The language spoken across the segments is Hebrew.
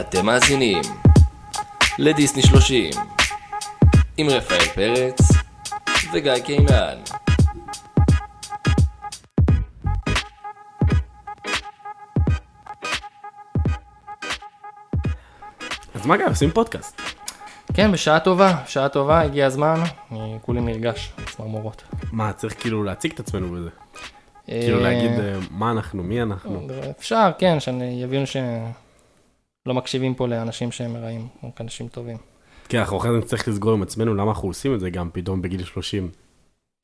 אתם מאזינים לדיסני 30 עם רפאל פרץ וגיא קינן. אז מה גם, עושים פודקאסט. כן, בשעה טובה, שעה טובה, הגיע הזמן, אני כולי נרגש, צמרמורות. מה, צריך כאילו להציג את עצמנו בזה. אה, כאילו להגיד אה, מה אנחנו, מי אנחנו. אפשר, כן, שאני יבינו שלא מקשיבים פה לאנשים שהם רעים, או כאנשים טובים. כן, אנחנו אחרי זה נצטרך לסגור עם עצמנו למה אנחנו עושים את זה גם פתאום בגיל 30.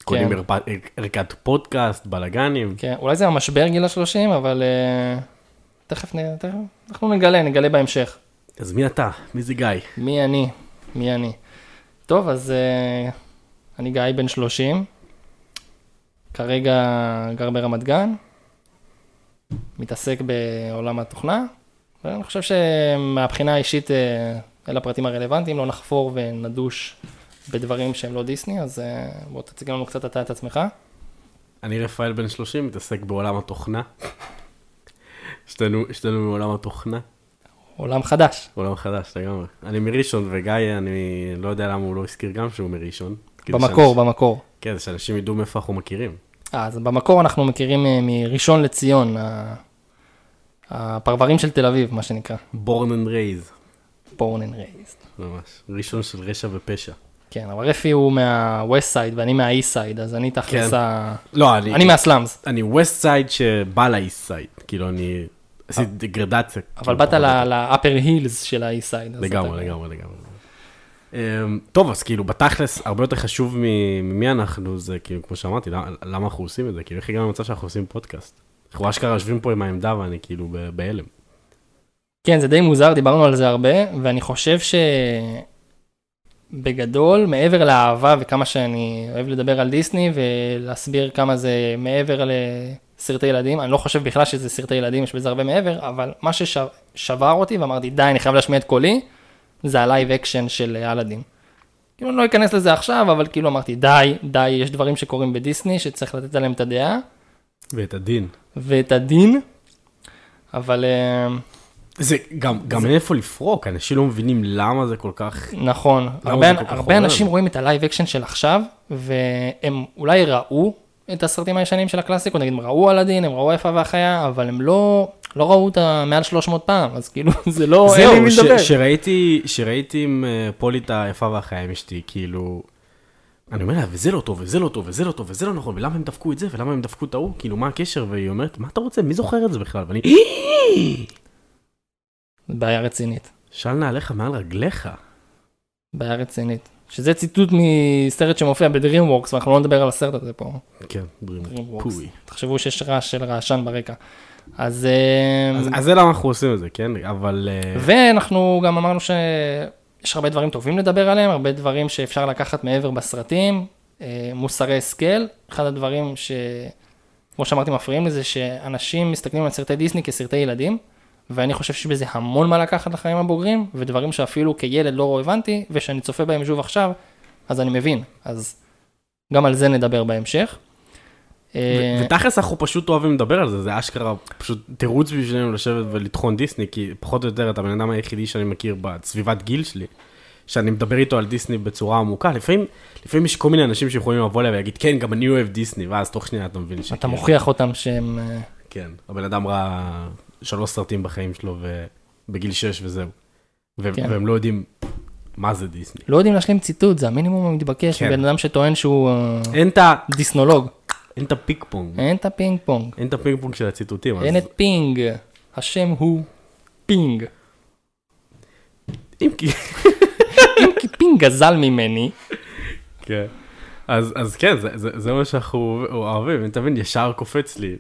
קונים ערפ- ער- ערכת פודקאסט, בלאגנים. כן, אולי זה המשבר גיל השלושים, אבל אה, תכף נ- תכף- אנחנו נגלה, נגלה בהמשך. אז מי אתה? מי זה גיא? מי אני? מי אני? טוב, אז uh, אני גיא בן 30, כרגע גר ברמת גן, מתעסק בעולם התוכנה, ואני חושב שמהבחינה האישית, uh, אלה הפרטים הרלוונטיים, לא נחפור ונדוש בדברים שהם לא דיסני, אז uh, בוא תציג לנו קצת אתה את עצמך. אני רפאל בן 30, מתעסק בעולם התוכנה. שתינו שתינו מעולם התוכנה, עולם חדש. עולם חדש לגמרי. אני מראשון וגיא, אני לא יודע למה הוא לא הזכיר גם שהוא מראשון. כדי במקור, שאנשים- במקור. כן, זה שאנשים ידעו מאיפה אנחנו מכירים. אה, אז במקור אנחנו מכירים אה, מראשון לציון, ה- הפרברים של תל אביב, מה שנקרא. born and raised. born and raised. ממש, ראשון של רשע ופשע. כן, אבל רפי הוא מה-West Side ואני מה-East Side, אז אני תכלס כן. ה... לא, אני, אני מהסלאמס, אני ווסט סייד שבא לאיסט סייד, כאילו אני עשיתי דגרדציה. אה. אבל כאילו, באת פחות או יותר. ל-upper hills של ה-East Side. אז אתה- לגמרי, לגמרי, לגמרי. אמ, טוב, אז כאילו בתכלס, הרבה יותר חשוב מ- ממי אנחנו, זה כאילו, כמו שאמרתי, למה- למה אנחנו עושים את זה? כאילו, איך הגענו למצב שאנחנו עושים פודקאסט? אנחנו אשכרה יושבים פה עם העמדה ואני כאילו ב- בהלם. כן, זה די מוזר, דיברנו על זה הרבה, ואני חושב ש... בגדול, מעבר לאהבה וכמה שאני אוהב לדבר על דיסני ולהסביר כמה זה מעבר לסרטי ילדים, אני לא חושב בכלל שזה סרטי ילדים, יש בזה הרבה מעבר, אבל מה ששבר אותי ואמרתי, די, אני חייב להשמיע את קולי, זה הלייב אקשן של אלאדין. כאילו, אני לא אכנס לזה עכשיו, אבל כאילו אמרתי, די, די, יש דברים שקורים בדיסני שצריך לתת עליהם את הדעה ואת הדין. ואת הדין, אבל... אה, זה גם, גם אין איפה לפרוק, אנשים לא מבינים למה זה כל כך... נכון, למה הרבה, זה כל כך הרבה עורר? אנשים רואים את הלייב אקשן של עכשיו, והם אולי ראו את הסרטים הישנים של הקלאסיקות, נגיד הם ראו אלאדין, הם ראו איפה והחיה, אבל הם לא, לא ראו אותה מעל 300 פעם, אז כאילו זה לא, אין לי מי ש- לדבר. שראיתי, שראיתי עם אה, פולי את היפה והחיה עם אשתי, כאילו... אני אומר לה, וזה לא טוב, וזה לא טוב, וזה לא טוב, וזה לא נכון, ולמה הם דפקו את זה, ולמה הם דפקו את ההוא, כאילו, מה הקשר? והיא אומרת, מה אתה רוצה, מי זוכר את זה בכלל? ואני, "אה, בעיה רצינית, של נעליך מעל רגליך. בעיה רצינית. שזה ציטוט מסרט שמופיע בדרימוורקס, ואנחנו לא נדבר על הסרט הזה פה. כן, דברים, DreamWorks. פוי. תחשבו שיש רעש של רעשן ברקע. אז... אמ, אז אז זה למה אנחנו עושים את זה, כן? אבל... אה, ואנחנו גם אמרנו שיש הרבה דברים טובים לדבר עליהם, הרבה דברים שאפשר לקחת מעבר בסרטים, אה, מוסרי השכל. אחד הדברים ש... כמו שאמרתי, מפריעים לזה שאנשים מסתכלים על סרטי דיסני כסרטי ילדים, ואני חושב שבזה המון מה לקחת לחיים הבוגרים, ודברים שאפילו כילד לא הבנתי, ושאני צופה בהם שוב עכשיו, אז אני מבין. אז גם על זה נדבר בהמשך. אה, ו- ותכלס אנחנו פשוט אוהבים לדבר על זה, זה אשכרה פשוט תירוץ בשבילנו לשבת ולטחון דיסני, כי פחות או יותר אתה הבן אדם היחידי שאני מכיר בסביבת גיל שלי, שאני מדבר איתו על דיסני בצורה עמוקה, לפעמים, לפעמים יש כל מיני אנשים שיכולים לבוא אליי ולהגיד, כן, גם אני אוהב דיסני, ואז תוך שנייה אתה מבין שכן, אתה מוכיח אותם שהם... אה, כן, הבן אדם ראה שלוש סרטים בחיים שלו בגיל שש וזהו, והם, כן. והם לא יודעים מה זה דיסני. לא יודעים להשלים ציטוט, זה המינימום המתבקש, כן. מבן אדם שטוען שהוא אה, אין את ה- דיסנולוג. אין את הפיק פונג, אין את הפינג פונג, אין את הפינג פונג של הציטוטים, אז אה. אין את פינג, השם הוא פינג. אם כי... אם כי פינג גזל ממני, כן. אז, אז כן, זה, זה, זה מה שאנחנו אוהבים, אתה מבין, ישר קופץ לי.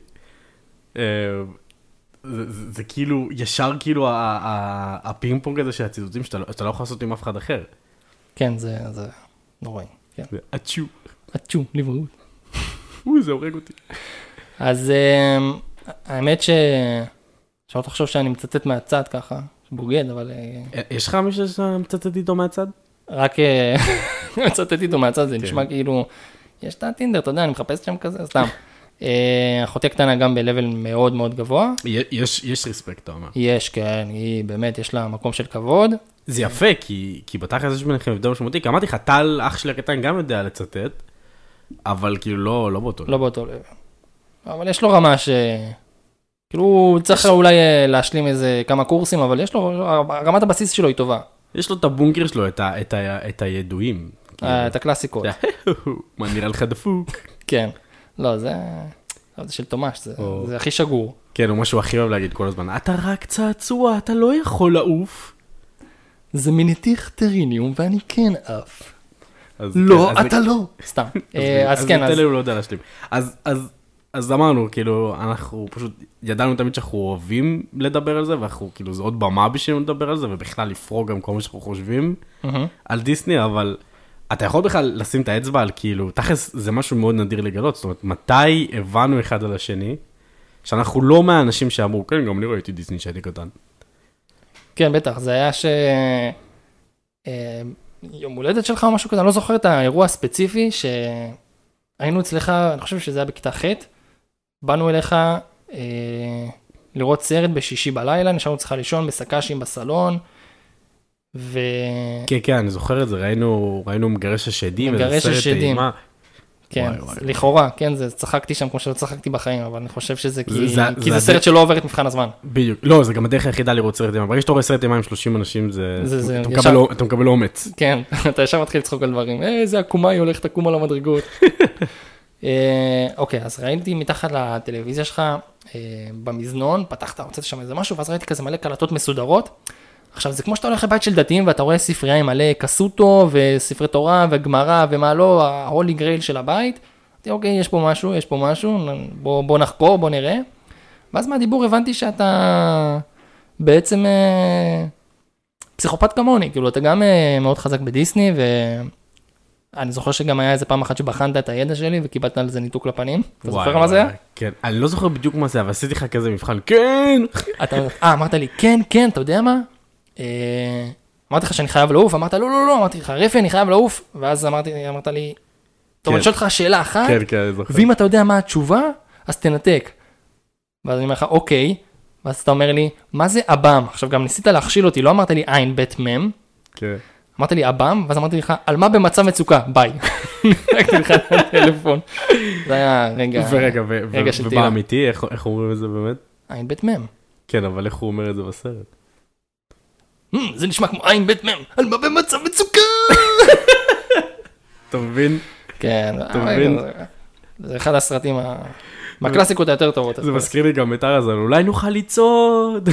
אה, זה, זה, זה כאילו, ישר כאילו ה- ה- ה- הפינג פונג הזה של הציטוטים שאתה, לא- שאתה לא יכול לעשות עם אף אחד אחר. כן זה זה נוראי, כן. זה אצ'ו, אצ'ו, לבריאות. אוי, זה הורג אותי. אז אמ, האמת ש... שלא תחשוב שאני מצטט מהצד ככה, בוגד, אבל אה, אה, יש לך מישהו שאתה מצטט איתו מהצד? רק אה, מצטט איתו מהצד, זה כן. נשמע כאילו, יש את הטינדר, אתה יודע, אני מחפש שם כזה, סתם. אה, אחותי הקטנה גם ב-level מאוד מאוד גבוה. יש, יש ריספקט, אתה אומר. יש, כן, היא באמת, יש לה מקום של כבוד. זה יפה, כי, כי בתכלס יש ביניכם הבדל משמעותי, כי אמרתי לך, טל, אח שלי הקטן, גם יודע לצטט, אבל כאילו לא, לא באותו. לא באותו לב. אבל יש לו רמה ש... כאילו, הוא צריך אולי אה, להשלים איזה כמה קורסים, אבל יש לו, רמת הבסיס שלו היא טובה. יש לו את הבונקר שלו, את, ה, את, ה, את הידועים. אה, את הקלאסיקות. כן. מה נראה לך דפוק? כן. לא, זה... לא, זה של תומש, זה- או. זה הכי שגור. כן, הוא מה שהוא הכי אוהב להגיד כל הזמן, אתה רק צעצוע, אתה לא יכול לעוף. זה מניתיך טריניום ואני כן עף. אז- כן, לא, אז- אתה לא. סתם. אה, אז אז... כן, אז... נתן לי, הוא לא יודע להשלים. אז, אז, אז אמרנו, כאילו, אנחנו פשוט ידענו תמיד שאנחנו אוהבים לדבר על זה, ואנחנו, כאילו, זה עוד במה בשבילנו לדבר על זה, ובכלל לפרוק גם כל מה שאנחנו חושבים מהמם. על דיסני, אבל אתה יכול בכלל לשים את האצבע על כאילו, תכלס זה משהו מאוד נדיר לגלות, זאת אומרת, מתי הבנו אחד על השני, שאנחנו לא מהאנשים שאמרו, כן, גם אני ראיתי דיסני כשהייתי קטן. כן, בטח, זה היה ש... אה, יום הולדת שלך או משהו כזה, אני לא זוכר את האירוע הספציפי שהיינו אצלך, אני חושב שזה היה בכיתה ח', באנו אליך אה, לראות סרט בשישי בלילה, נשארנו אצלך לישון בסק"שים בסלון, ו... כן, כן, אני זוכר את זה, ראינו, ראינו מגרש השדים, מגרש השדים. אימה. כן, וואי, וואי. לכאורה, כן, זה, צחקתי שם כמו שלא צחקתי בחיים, אבל אני חושב שזה כי זה- כי זה- זה, זה סרט הדרך- שלא עובר את מבחן הזמן. בדיוק, לא, זה גם הדרך היחידה לראות סרט אימה. ברגע שאתה רואה סרט אימה עם 30 אנשים, זה... זה- זה אתה, ישר- מקבל, א- אתה מקבל אומץ. כן, אתה ישר מתחיל לצחוק על דברים, "אה, איזה עקומה היא הולכת עקום על המדרגות. אה, אוקיי, אז ראיתי מתחת לטלוויזיה שלך, אה, במזנון, פתחת, הוצאת שם איזה משהו, ואז ראיתי כזה מלא קלטות מסודרות. עכשיו, זה כמו שאתה הולך לבית של דתיים ואתה רואה ספרייה עם מלא קסוטו וספרי תורה וגמרא ומה לא, ההולי גרייל של הבית. אמרתי, אוקיי, יש פה משהו, יש פה משהו, בוא, בוא נחקור, בוא נראה. ואז מהדיבור הבנתי שאתה בעצם... אה, פסיכופת כמוני, כאילו אתה גם אה, מאוד חזק בדיסני, ואני זוכר שגם היה איזה פעם אחת שבחנת את הידע שלי וקיבלת על זה ניתוק לפנים. אתה וואי, זוכר מה זה היה? וואי, כן, אני לא זוכר בדיוק מה זה, אבל עשיתי לך כזה מבחן, כן! אתה אה, אמרת לי, כן, כן, אתה יודע מה? אה, אמרתי לך שאני חייב לעוף, אמרת לא, לא, לא, אמרתי לך, רפי, אני חייב לעוף, ואז אמרתי, אמרת לי, טוב, כן. אני שואל אותך שאלה אחת, כן, כן, אני זוכר. ואם אתה יודע מה התשובה, אז תנתק. ואז אני אומר לך, אוקיי, ואז אתה אומר לי, מה זה עב"ם? עכשיו גם ניסית להכשיל אותי, לא אמרת לי עין, בית, מם, כן. אמרת לי עב"ם, ואז אמרתי לך, על מה במצב מצוקה? ביי. נתתי לך את הטלפון. זה היה רגע, ורגע, ו- רגע ו- של תהילה. ובאמיתי, איך- איך אומרים את זה באמת? עין בית מם. כן, אבל איך הוא אומר את זה בסרט? "מ, זה נשמע כמו עין בית מם, על מה במצב מצוקה? אתה מבין? כן, אתה אבל מבין? זה- זה אחד הסרטים, ה- מהקלאסיקות היותר טובות. זה מזכיר לי גם את ארזן, אולי נוכל לצעוד.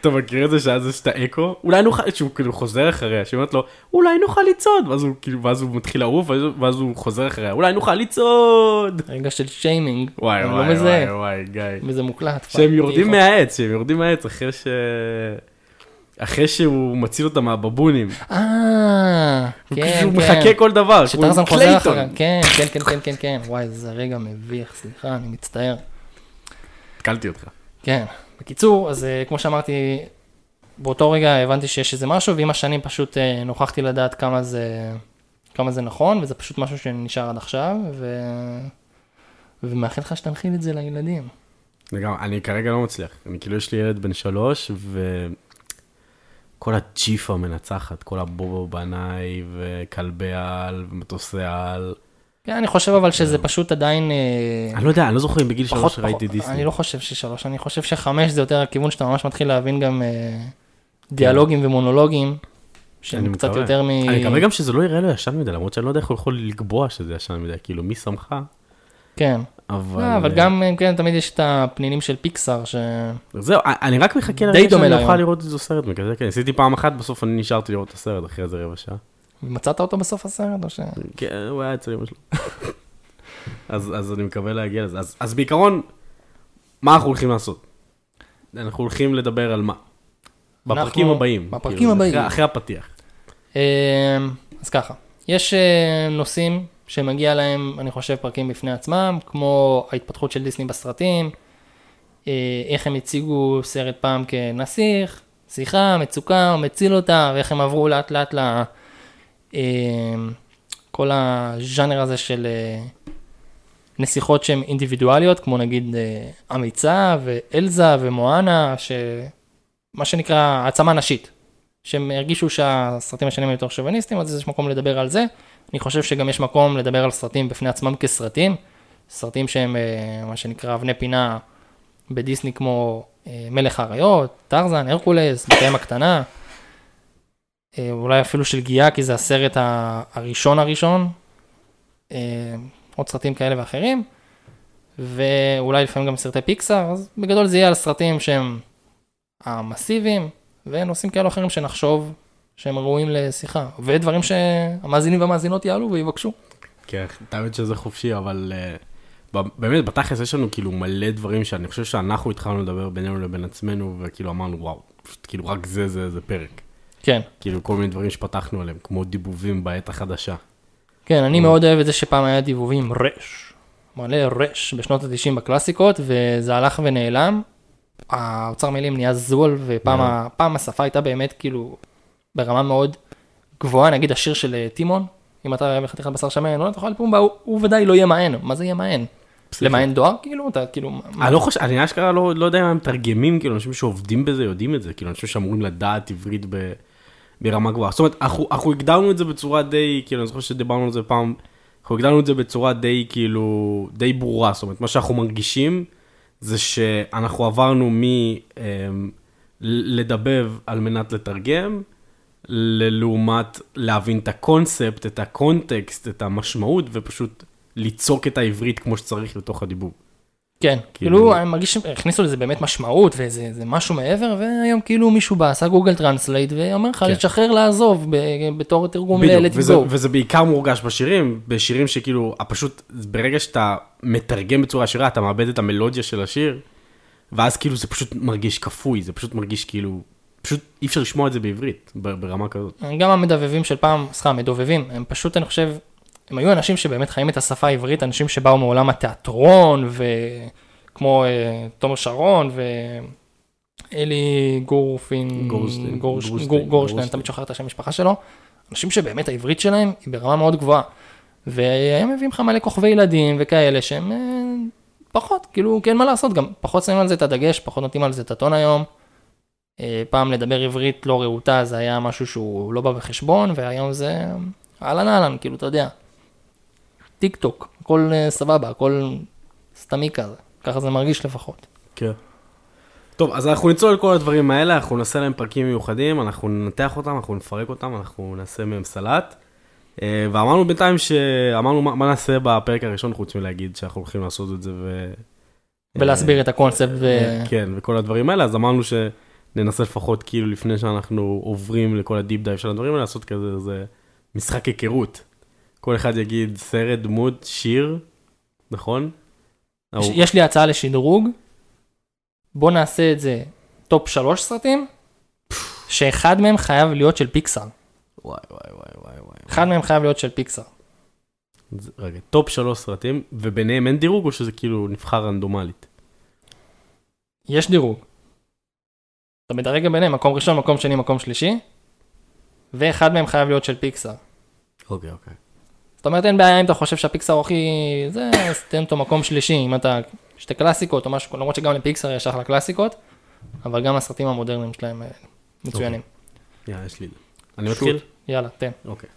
אתה מכיר את זה שאז יש את האקו? אולי נוכל, שהוא כאילו חוזר אחריה, שהיא אומרת לו, אולי נוכל לצעוד, ואז הוא כאילו, ואז הוא מתחיל לעוף, ואז הוא- ואז הוא חוזר אחריה, אולי נוכל לצעוד. רגע של שיימינג, וואי אני לא וואי וואי מזהה, לא וואי, גיא. וזה מוקלט. שהם פעם. יורדים מהעץ, שהם יורדים מהעץ אחרי ש... אחרי שהוא מציל אותם מהבבונים. אה, כן, הוא כן. כאילו מחכה כל דבר, כמו שטרזן חוזר קלייטון. אחריו, כן, כן, כן, כן, כן, כן, וואי, זה רגע מביך, סליחה, אני מצטער. התקלתי אותך. כן. בקיצור, אז אה, כמו שאמרתי, באותו רגע הבנתי שיש איזה משהו, ועם השנים פשוט אה, נוכחתי לדעת כמה זה, כמה זה נכון, וזה פשוט משהו שנשאר עד עכשיו, ו... ומאחל לך שתנחיל את זה לילדים. לגמרי, אני כרגע לא מצליח. אני כאילו, יש לי ילד בן שלוש, וכל הג'יפה מנצחת, כל הבובו בנאי, וכלבי על, ומטוסי על. כן, אני חושב אבל שזה פשוט עדיין... אה, אני לא יודע, אני לא זוכר אם בגיל פחות- שלוש ראיתי פחות- אני דיסני. לא חושב ששלוש, אני חושב שחמש זה יותר הכיוון שאתה ממש מתחיל להבין גם אה, דיאלוגים ומונולוגים, שהם כן. אני קצת מקווה. יותר מ... אני מקווה גם שזה לא יראה לו ישן מדי, למרות שאני לא יודע איך הוא יכול לקבוע שזה ישן מדי, כאילו, מי שמך? כן, אבל... לא, אבל גם, אה, כן, תמיד יש את הפנינים של פיקסאר, ש... זהו, אני רק מחכה די לרגע דומה שאני להיום. אוכל לראות איזה סרט מכזה, כן, עשיתי פעם אחת, בסוף אני נשארתי לראות את הסרט אחרי איזה רבע שעה. מצאת אותו בסוף הסרט או ש... כן, הוא היה אצל אמא שלו. אז, אז אני מקווה להגיע לזה. אז, אז בעיקרון, מה אנחנו הולכים לעשות? אנחנו הולכים לדבר על מה? בפרקים אנחנו- הבאים. בפרקים זה הבאים. אחרי, אחרי הפתיח. אמ, אז ככה, יש אה, נושאים שמגיע להם, אני חושב, פרקים בפני עצמם, כמו ההתפתחות של דיסני בסרטים, אה, איך הם הציגו סרט פעם כנסיך, שיחה, מצוקה, הוא מציל אותה, ואיך הם עברו לאט לאט ל... אמ, כל הז'אנר הזה של אה, נסיכות שהן אינדיבידואליות, כמו נגיד אה, אמיצה ואלזה ומואנה, ש... מה שנקרא העצמה נשית. שהם הרגישו שהסרטים השנים הם יותר שוביניסטים, אז יש מקום לדבר על זה. אני חושב שגם יש מקום לדבר על סרטים בפני עצמם כסרטים. סרטים שהם אה, מה שנקרא אבני פינה בדיסני כמו אה, מלך האריות, טרזן, הרקולס, בתאם הקטנה. אה, אולי אפילו של גיאה, כי זה הסרט ה- הראשון הראשון. אה, עוד סרטים כאלה ואחרים. ואולי לפעמים גם סרטי פיקסאר, אז בגדול זה יהיה על סרטים שהם המסיביים, ונושאים כאלו אחרים שנחשוב שהם ראויים לשיחה, ודברים שהמאזינים והמאזינות יעלו ויבקשו. כן, האמת שזה חופשי, אבל אה, ב- באמת, בתכלס יש לנו כאילו מלא דברים שאני חושב שאנחנו התחלנו לדבר בינינו לבין עצמנו, וכאילו אמרנו, וואו, פשוט כאילו רק זה, זה, זה פרק. כן, כאילו כל מיני דברים שפתחנו עליהם, כמו דיבובים בעת החדשה. כן, אני מאוד אוהב את זה שפעם היה דיבובים רש, מלא רש בשנות ה-90 בקלאסיקות, וזה הלך ונעלם. האוצר מילים נהיה זול, ופעם ה- פעם השפה הייתה באמת כאילו ברמה מאוד גבוהה, נגיד השיר של אה, טימון, אם אתה רעב לחתיכת בשר שמן, לא אתה יכול לפומבה, הוא- הוא ודאי לא ימאן, מה זה ימאן? למען דואר כאילו? אתה כאילו... מה- אני לא חושב, אני אשכרה לא, לא יודע אם הם מתרגמים, כאילו, אנשים שעובדים בזה יודעים את זה, כאילו, אנשים שאמורים לדעת עברית ב, ברמה גבוהה. זאת אומרת, אנחנו, אנחנו הגדרנו את זה בצורה די, כאילו, אני זוכר שדיברנו על זה פעם, אנחנו הגדרנו את זה בצורה די, כאילו, די ברורה, זאת אומרת, מה שאנחנו מרגישים זה שאנחנו עברנו מ... אמ, ל- לדבב על מנת לתרגם, ללעומת להבין את הקונספט, את הקונטקסט, את המשמעות, ופשוט ליצוק את העברית כמו שצריך לתוך הדיבור. כן, כאילו- כאילו, אני מרגיש שהכניסו לזה באמת משמעות ואיזה זה משהו מעבר, והיום כאילו מישהו בא, עשה גוגל טרנסלייט, ואומר לך, כן. לשחרר לעזוב ב- בתור תרגום בדיוק, ל-let it וזה, go. וזה בעיקר מורגש בשירים, בשירים שכאילו, פשוט ברגע שאתה מתרגם בצורה ישירה, אתה מאבד את המלודיה של השיר, ואז כאילו זה פשוט מרגיש כפוי, זה פשוט מרגיש כאילו, פשוט אי אפשר לשמוע את זה בעברית, ב- ברמה כזאת. גם המדבבים של פעם, סליחה, המדובבים, הם פשוט, אני חושב, הם היו אנשים שבאמת חיים את השפה העברית, אנשים שבאו מעולם התיאטרון, וכמו אה, תומר שרון, ואלי גורפין, גורשטיין, גורש- גורשטיין, גור- גורשטיין, גורשטיין. תמיד שוכח את השם המשפחה שלו, אנשים שבאמת העברית שלהם היא ברמה מאוד גבוהה. והם מביאים לך מלא כוכבי ילדים וכאלה שהם אה, פחות, כאילו, כי אין מה לעשות, גם פחות שמים על זה את הדגש, פחות נותנים על זה את הטון היום. אה, פעם לדבר עברית לא רהוטה זה היה משהו שהוא לא בא בחשבון, והיום זה אהלן אהלן, כאילו, אתה יודע. טיק טוק, הכל אה, סבבה, הכל סתמי כזה, ככה זה מרגיש לפחות. כן. טוב, אז אנחנו נצלול על כל הדברים האלה, אנחנו נעשה להם פרקים מיוחדים, אנחנו ננתח אותם, אנחנו נפרק אותם, אנחנו נעשה מהם סלט. אה, ואמרנו בינתיים ש... אמרנו מה, מה נעשה בפרק הראשון, חוץ מלהגיד שאנחנו הולכים לעשות את זה ו... ולהסביר את הקונספט ו... כן, וכל הדברים האלה, אז אמרנו שננסה לפחות כאילו לפני שאנחנו עוברים לכל הדיפ דייב של הדברים האלה, לעשות כזה איזה משחק היכרות. כל אחד יגיד סרט, דמות, שיר, נכון? יש- ההוא- יש לי הצעה לשדרוג, בוא נעשה את זה טופ שלוש סרטים, שאחד מהם חייב להיות של פיקסאר. וואי וואי וואי וואי וואי. אחד מהם חייב להיות של פיקסאר. זה- רגע, טופ שלוש סרטים, וביניהם אין דירוג או שזה כאילו נבחר רנדומלית? יש דירוג. אתה מדרג ביניהם, מקום ראשון, מקום שני, מקום שלישי, ואחד מהם חייב להיות של פיקסאר. אוקיי, אוקיי. זאת אומרת, אין בעיה אם אתה חושב שהפיקסאר הוא הכי... זה, אז תן אותו מקום שלישי, אם אתה... שתי קלאסיקות או משהו, למרות שגם לפיקסאר יש אחלה קלאסיקות, אבל גם הסרטים המודרניים שלהם אה, מצוינים. יאללה, יש לי את זה. אני שתול? מתחיל? יאללה, תן. אוקיי.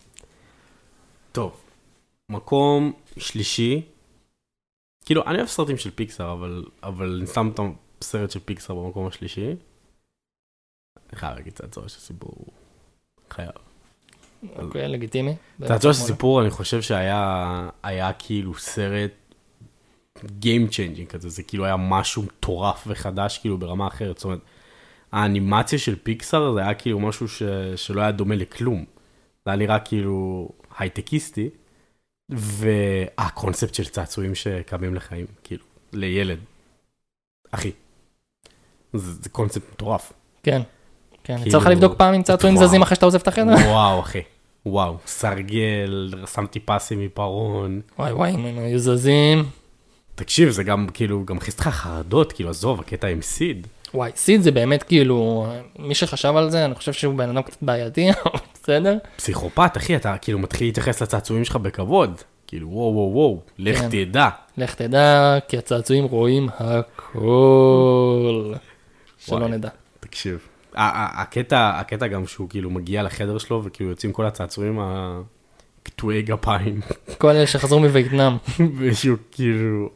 טוב, מקום שלישי, כאילו, אני אוהב סרטים של פיקסאר, אבל, אבל אני שם את הסרט של פיקסאר במקום השלישי. אני חייב להגיד, צעצוע של סיפור, חייב. אוקיי, לגיטימי. צעצוע של סיפור, אני חושב שהיה היה כאילו סרט Game Changing כזה, זה כאילו היה משהו מטורף וחדש, כאילו ברמה אחרת, זאת אומרת, האנימציה של פיקסאר זה היה כאילו משהו ש... שלא היה דומה לכלום. זה היה נראה כאילו הייטקיסטי, והקונספט של צעצועים שקמים לחיים, כאילו, לילד. אחי. זה, זה קונספט מטורף. כן. כן, כאילו- יצא לך לבדוק פעם אם צעצועים וואו. זזים אחרי שאתה עוזב את החדר? וואו, אחי. וואו, סרגל, שמתי פסים מפרון. וואי וואי, אם הם היו זזים. תקשיב, זה גם כאילו, גם מכניס לך חרדות, כאילו, עזוב, הקטע עם סיד. וואי, סיד זה באמת כאילו, מי שחשב על זה, אני חושב שהוא בן אדם קצת בעייתי, אבל בסדר. פסיכופת, אחי, אתה כאילו מתחיל להתייחס לצעצועים שלך בכבוד. כאילו, וואו, וואו, וואו, לך כן. תדע. לך תדע, כי הצעצועים רואים הכל. שלא וואי. נדע. תקשיב. ה- ה- הקטע, הקטע גם שהוא כאילו מגיע לחדר שלו וכאילו יוצאים כל הצעצועים הקטועי גפיים. כל אלה שחזרו מווייטנאם. ושהוא כאילו...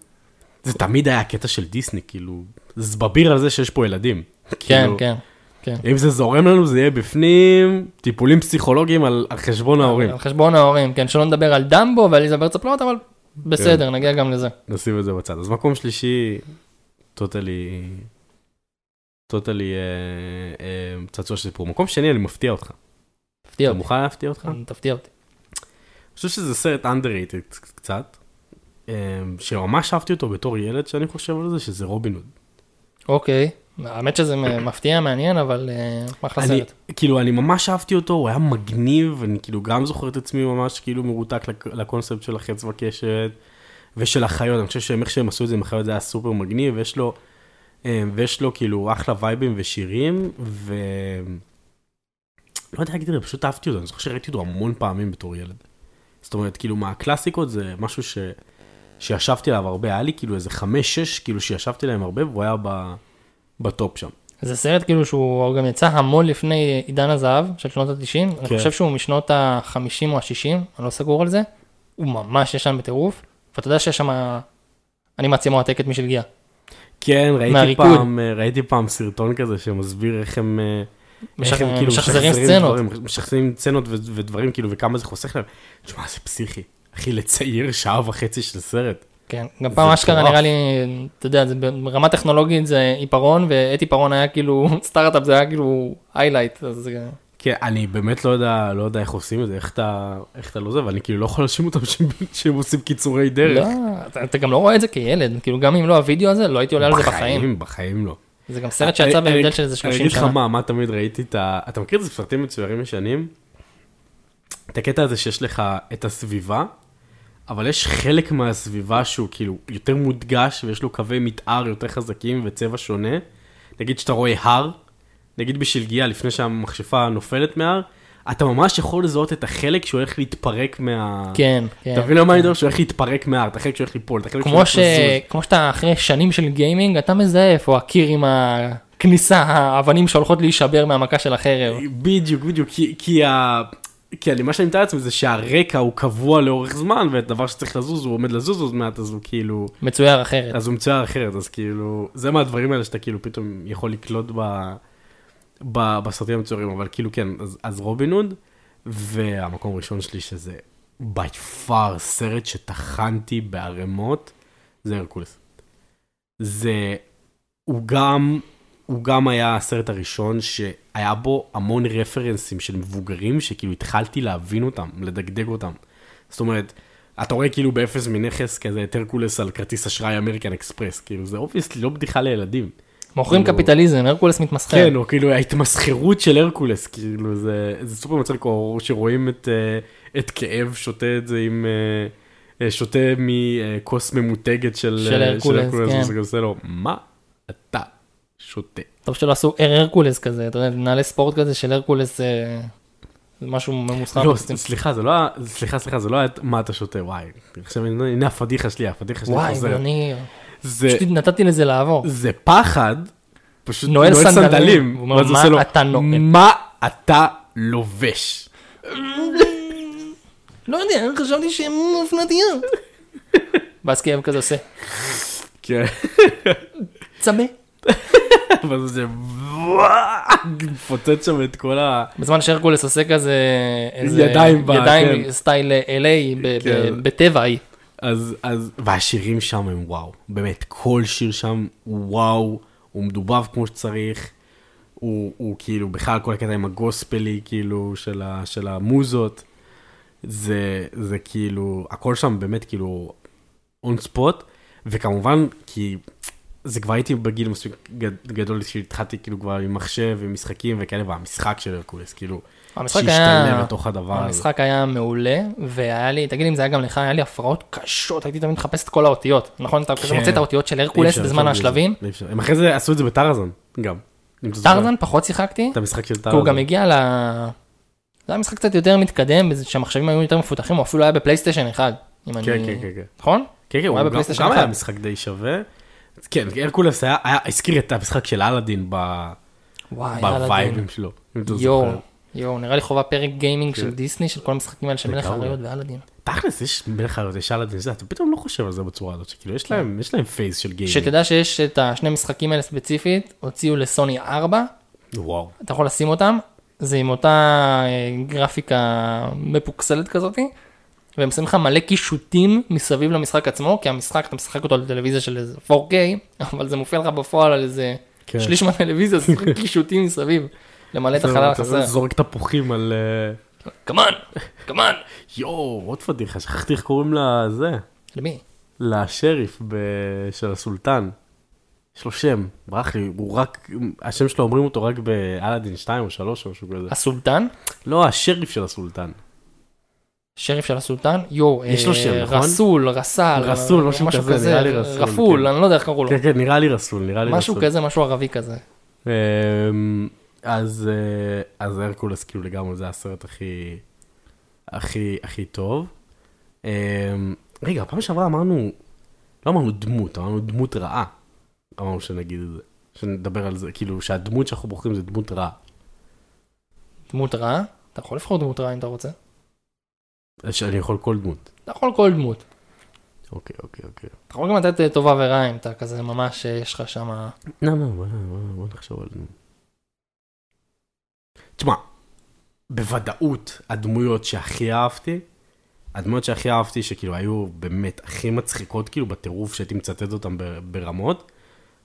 זה תמיד היה הקטע של דיסני, כאילו, זבביר על זה שיש פה ילדים. כן, כאילו, כן, כן. אם זה זורם לנו זה יהיה בפנים, טיפולים פסיכולוגיים על, על חשבון ההורים. על חשבון ההורים, כן, שלא נדבר על דמבו ועל איזבר צפלות, אבל כן. בסדר, נגיע גם לזה. נשים את זה בצד. אז מקום שלישי, טוטלי... טוטלי אה, אה, צעצוע של סיפור. מקום שני, אני מפתיע אותך. תפתיע אתה אותי. מוכן להפתיע אותך? תפתיע אותי. אני חושב שזה סרט underrated קצת, אה, שממש אהבתי אותו בתור ילד, שאני חושב על זה, שזה רובין הוד. אוקיי, האמת שזה מ- מפתיע, מעניין, אבל אה, אחלה אני, סרט. כאילו, אני ממש אהבתי אותו, הוא היה מגניב, אני כאילו גם זוכר את עצמי ממש כאילו מרותק לק- לקונספט של החץ וקשת, ושל החיות, אני חושב שהם איך שהם עשו את זה עם החיות זה היה סופר מגניב, ויש לו, אה, ויש לו כאילו אחלה וייבים ושירים, ו... לא יודע להגיד, לך, פשוט אהבתי אותו, אני זוכר שראיתי אותו המון פעמים בתור ילד. זאת אומרת, כאילו, מהקלאסיקות זה משהו ש... שישבתי עליו הרבה, היה לי כאילו איזה חמש-שש, כאילו שישבתי עליהם הרבה, והוא היה ב... בטופ שם. זה סרט כאילו שהוא גם יצא המון לפני עידן הזהב של שנות ה-90, אני כן. חושב שהוא משנות ה-50 או ה-60, אני לא סגור על זה, הוא ממש ישן בטירוף, ואתה יודע שיש שם אנימציה מועתקת משלגיה. כן, ראיתי מהריקוד. פעם, אה, ראיתי פעם סרטון כזה שמסביר איך הם, אה, משח- איך הם כאילו משחזרים סצנות. דברים, משחזרים סצנות ו- ודברים כאילו, וכמה זה חוסך להם. תשמע, זה פסיכי. אחי, לצייר שעה וחצי של סרט. כן, גם פעם זה אשכרה מטורף. נראה לי, אתה יודע, זה ברמה טכנולוגית זה עיפרון, ועת עיפרון היה כאילו, סטארט-אפ זה היה כאילו highlight, אז אה, זה- כן, אני באמת לא יודע, לא יודע איך עושים את זה, איך אתה, איך אתה לא זה, ואני כאילו לא יכול להאשים אותם שהם, שהם עושים קיצורי לא, דרך. אתה- אתה גם לא רואה את זה כילד, כאילו גם אם לא הווידאו הזה, לא הייתי עולה על זה בחיים. בחיים, בחיים לא. זה גם סרט שיצא אני- בהבדל אני- של איזה אה, אני 30 אגיד לך שנה. מה, מה תמיד ראיתי את ה... אתה מכיר את זה סרטים מצוירים ישנים? את הקטע הזה שיש לך את הסביבה, אבל יש חלק מהסביבה שהוא כאילו יותר מודגש ויש לו קווי מתאר יותר חזקים וצבע שונה. נגיד שאתה רואה הר, נגיד בשלגיה לפני שהמכשפה נופלת מהר, אתה ממש יכול לזהות את החלק שהולך להתפרק מה... כן, כן. אתה מבין למה אני מדבר? שהולך להתפרק מהר, את החלק שהולך ליפול, את החלק כמו, שהולך ש... לזוז. כמו שאתה אחרי שנים של גיימינג, אתה מזהה איפה הקיר עם הכניסה, האבנים שהולכות להישבר מהמכה של החרב. בדיוק, בדיוק, כי, כי, ה... כי אני, מה שאני מתאר לעצמי זה שהרקע הוא קבוע לאורך זמן, והדבר שצריך לזוז, הוא עומד לזוז עוד מעט, אז הוא כאילו, מצויר אחרת. אז הוא מצויר אחרת, אז כאילו, זה מהדברים האלה שאתה כאילו פתאום יכול לקלוט ב... ב... בסרטים המצוירים, אבל כאילו כן, אז, אז רובין הוד, והמקום הראשון שלי שזה by far סרט שטחנתי בערימות, זה הרקולס. זה, הוא גם, הוא גם היה הסרט הראשון שהיה בו המון רפרנסים של מבוגרים, שכאילו התחלתי להבין אותם, לדגדג אותם. זאת אומרת, אתה רואה כאילו באפס מנכס כזה את הרקולס על כרטיס אשראי אמריקן אקספרס, כאילו זה אובייסלי לא בדיחה לילדים. מוכרים כאילו- קפיטליזם, הרקולס מתמסחר. כן, או כאילו ההתמסחרות של הרקולס, כאילו זה, זה סופר מצחיק, או שרואים את, אה, את כאב שותה את זה עם, אה, אה, שותה מכוס ממותגת של, של אה, הרקולס, כן. וזה גם עושה לו, מה אתה שותה? טוב שלא עשו הר הרקולס כזה, אתה יודע, נעלי ספורט כזה של הרקולס, אה, זה משהו ממוסחר. לא, ס- סליחה, זה לא היה, סליחה, סליחה, זה לא היה את מה אתה שותה, וואי. עכשיו הנה הנה הפדיחה שלי, הפדיחה שלי וואי, חוזרת. אני זה- פשוט נתתי לזה לעבור. לא אה, זה פחד, פשוט נועל נועל סנדלים. סנדלים. הוא אומר, ואז הוא "מה עושה לו, אתה נועל?" מה אתה לובש? לא יודע, חשבתי שהן אופנתיות. ואז כאב כזה עושה, כן, צמא. ואז זה וואג, פוצץ שם את כל ה... בזמן שהרקולס עושה כזה, איזה ידיים ב- ידיים כן. סטייל אה, LA ב- ב- כן. בטבע ההיא. אז, אז, והשירים שם הם וואו, באמת, כל שיר שם הוא וואו, הוא מדובב כמו שצריך, הוא, הוא כאילו, בכלל כל הקטע עם הגוספלי, כאילו, של, ה, של המוזות, זה, זה כאילו, הכל שם באמת כאילו און ספוט, וכמובן, כי זה כבר הייתי בגיל מספיק גד- גדול, שהתחלתי כאילו כבר עם מחשב ומשחקים וכאלה, והמשחק של הרקולס, כאילו, המשחק היה... אה, שהשתלב לתוך הדבר הזה. המשחק היה מעולה, והיה לי, תגיד לי אם זה היה גם לך, היה לי הפרעות קשות, הייתי תמיד מחפש את כל האותיות, נכון? אתה פשוט כן. מוצא את האותיות של אי הרקולס אפשר, בזמן אי אפשר, השלבים. אי אפשר. הם אחרי זה עשו את זה בטרזן, גם. אם אתה זוכר. טרזן פחות שיחקתי, את המשחק של כי טרזן. הוא גם הגיע ל... זה היה משחק קצת יותר מתקדם, בזה שהמחשבים היו יותר מפותחים, הוא אפילו היה בפלייסטיישן 1, אם אני... כן, כן, כן, כן. נכון? כן, כן, הוא הוא היה גם- בפלייסטיישן גם היה אחד. משחק די שווה. אז כן, הרקולס היה, היה- הזכיר את המשחק של אלאדין ב- וואי, אה, אלאדין. בווייבים שלו. אם אתה יואו, זוכר. יואו, נראה לי חובה פרק גיימינג כן. של דיסני, של כל המשחקים האלה של מלך לגמרי. כן. האריות ואלאדין. תכלס, יש מלך האריות, יש אלאדין, זה, אתה פתאום לא חושב על זה בצורה הזאת, שכאילו, יש להם, יש להם פייס של גיימינג. כן. שתדע שיש את השני משחקים האלה ספציפית, הוציאו לסוני 4, וואו. אתה יכול לשים אותם, זה עם אותה אה, גרפיקה מפוקסלת כזאתי, והם שמים לך מלא קישוטים מסביב למשחק עצמו, כי המשחק, אתה משחק אותו על טלוויזיה של איזה 4K, אבל זה מופיע לך בפועל על איזה כן. שליש מהטלוויזיה, אז יש לך קישוטים מסביב, למלא את החלל אתה החסר. זורק תפוחים על... אה, כמובן, כמובן. יואו, עוד פדיחה, שכחתי איך קוראים לה זה, למי? לשריף ב- של הסולטן. יש לו שם, ברח לי, הוא רק, השם שלו אומרים אותו רק באלאדין 2 או 3 או משהו כזה. אה. הסולטן? לא, השריף של הסולטן. שריף של הסולטן? יואו, יש לו אה, שם, נכון? רסול, רסל, רסול, משהו כזה, נראה לי רסול, רפול, כן. אני לא יודע איך קראו לו, כן, כן, נראה לי רסול, נראה לי משהו רסול. כזה, משהו ערבי כזה. אמ, אז אה, אז הרקולס כאילו לגמרי זה הסרט הכי הכי הכי טוב. אמ, רגע, פעם שעברה אמרנו, לא אמרנו דמות, אמרנו דמות רעה. אמרנו שנגיד את זה, שנדבר על זה, כאילו שהדמות שאנחנו בוחרים זה דמות רעה. דמות רעה? אתה יכול לבחור דמות רעה אם אתה רוצה. אז אה, שאני יכול כל דמות. אתה יכול כל דמות. אוקיי, אוקיי, אוקיי. אתה יכול גם לתת אה, טובה ורע אם אתה כזה ממש, אה, יש לך שמה... לא, לא, בוא- בוא- בוא נחשוב על דמות. תשמע, בוודאות הדמויות שהכי אהבתי, הדמויות שהכי אהבתי, שכאילו היו באמת הכי מצחיקות, כאילו בטירוף שהייתי מצטט אותן ב- ברמות,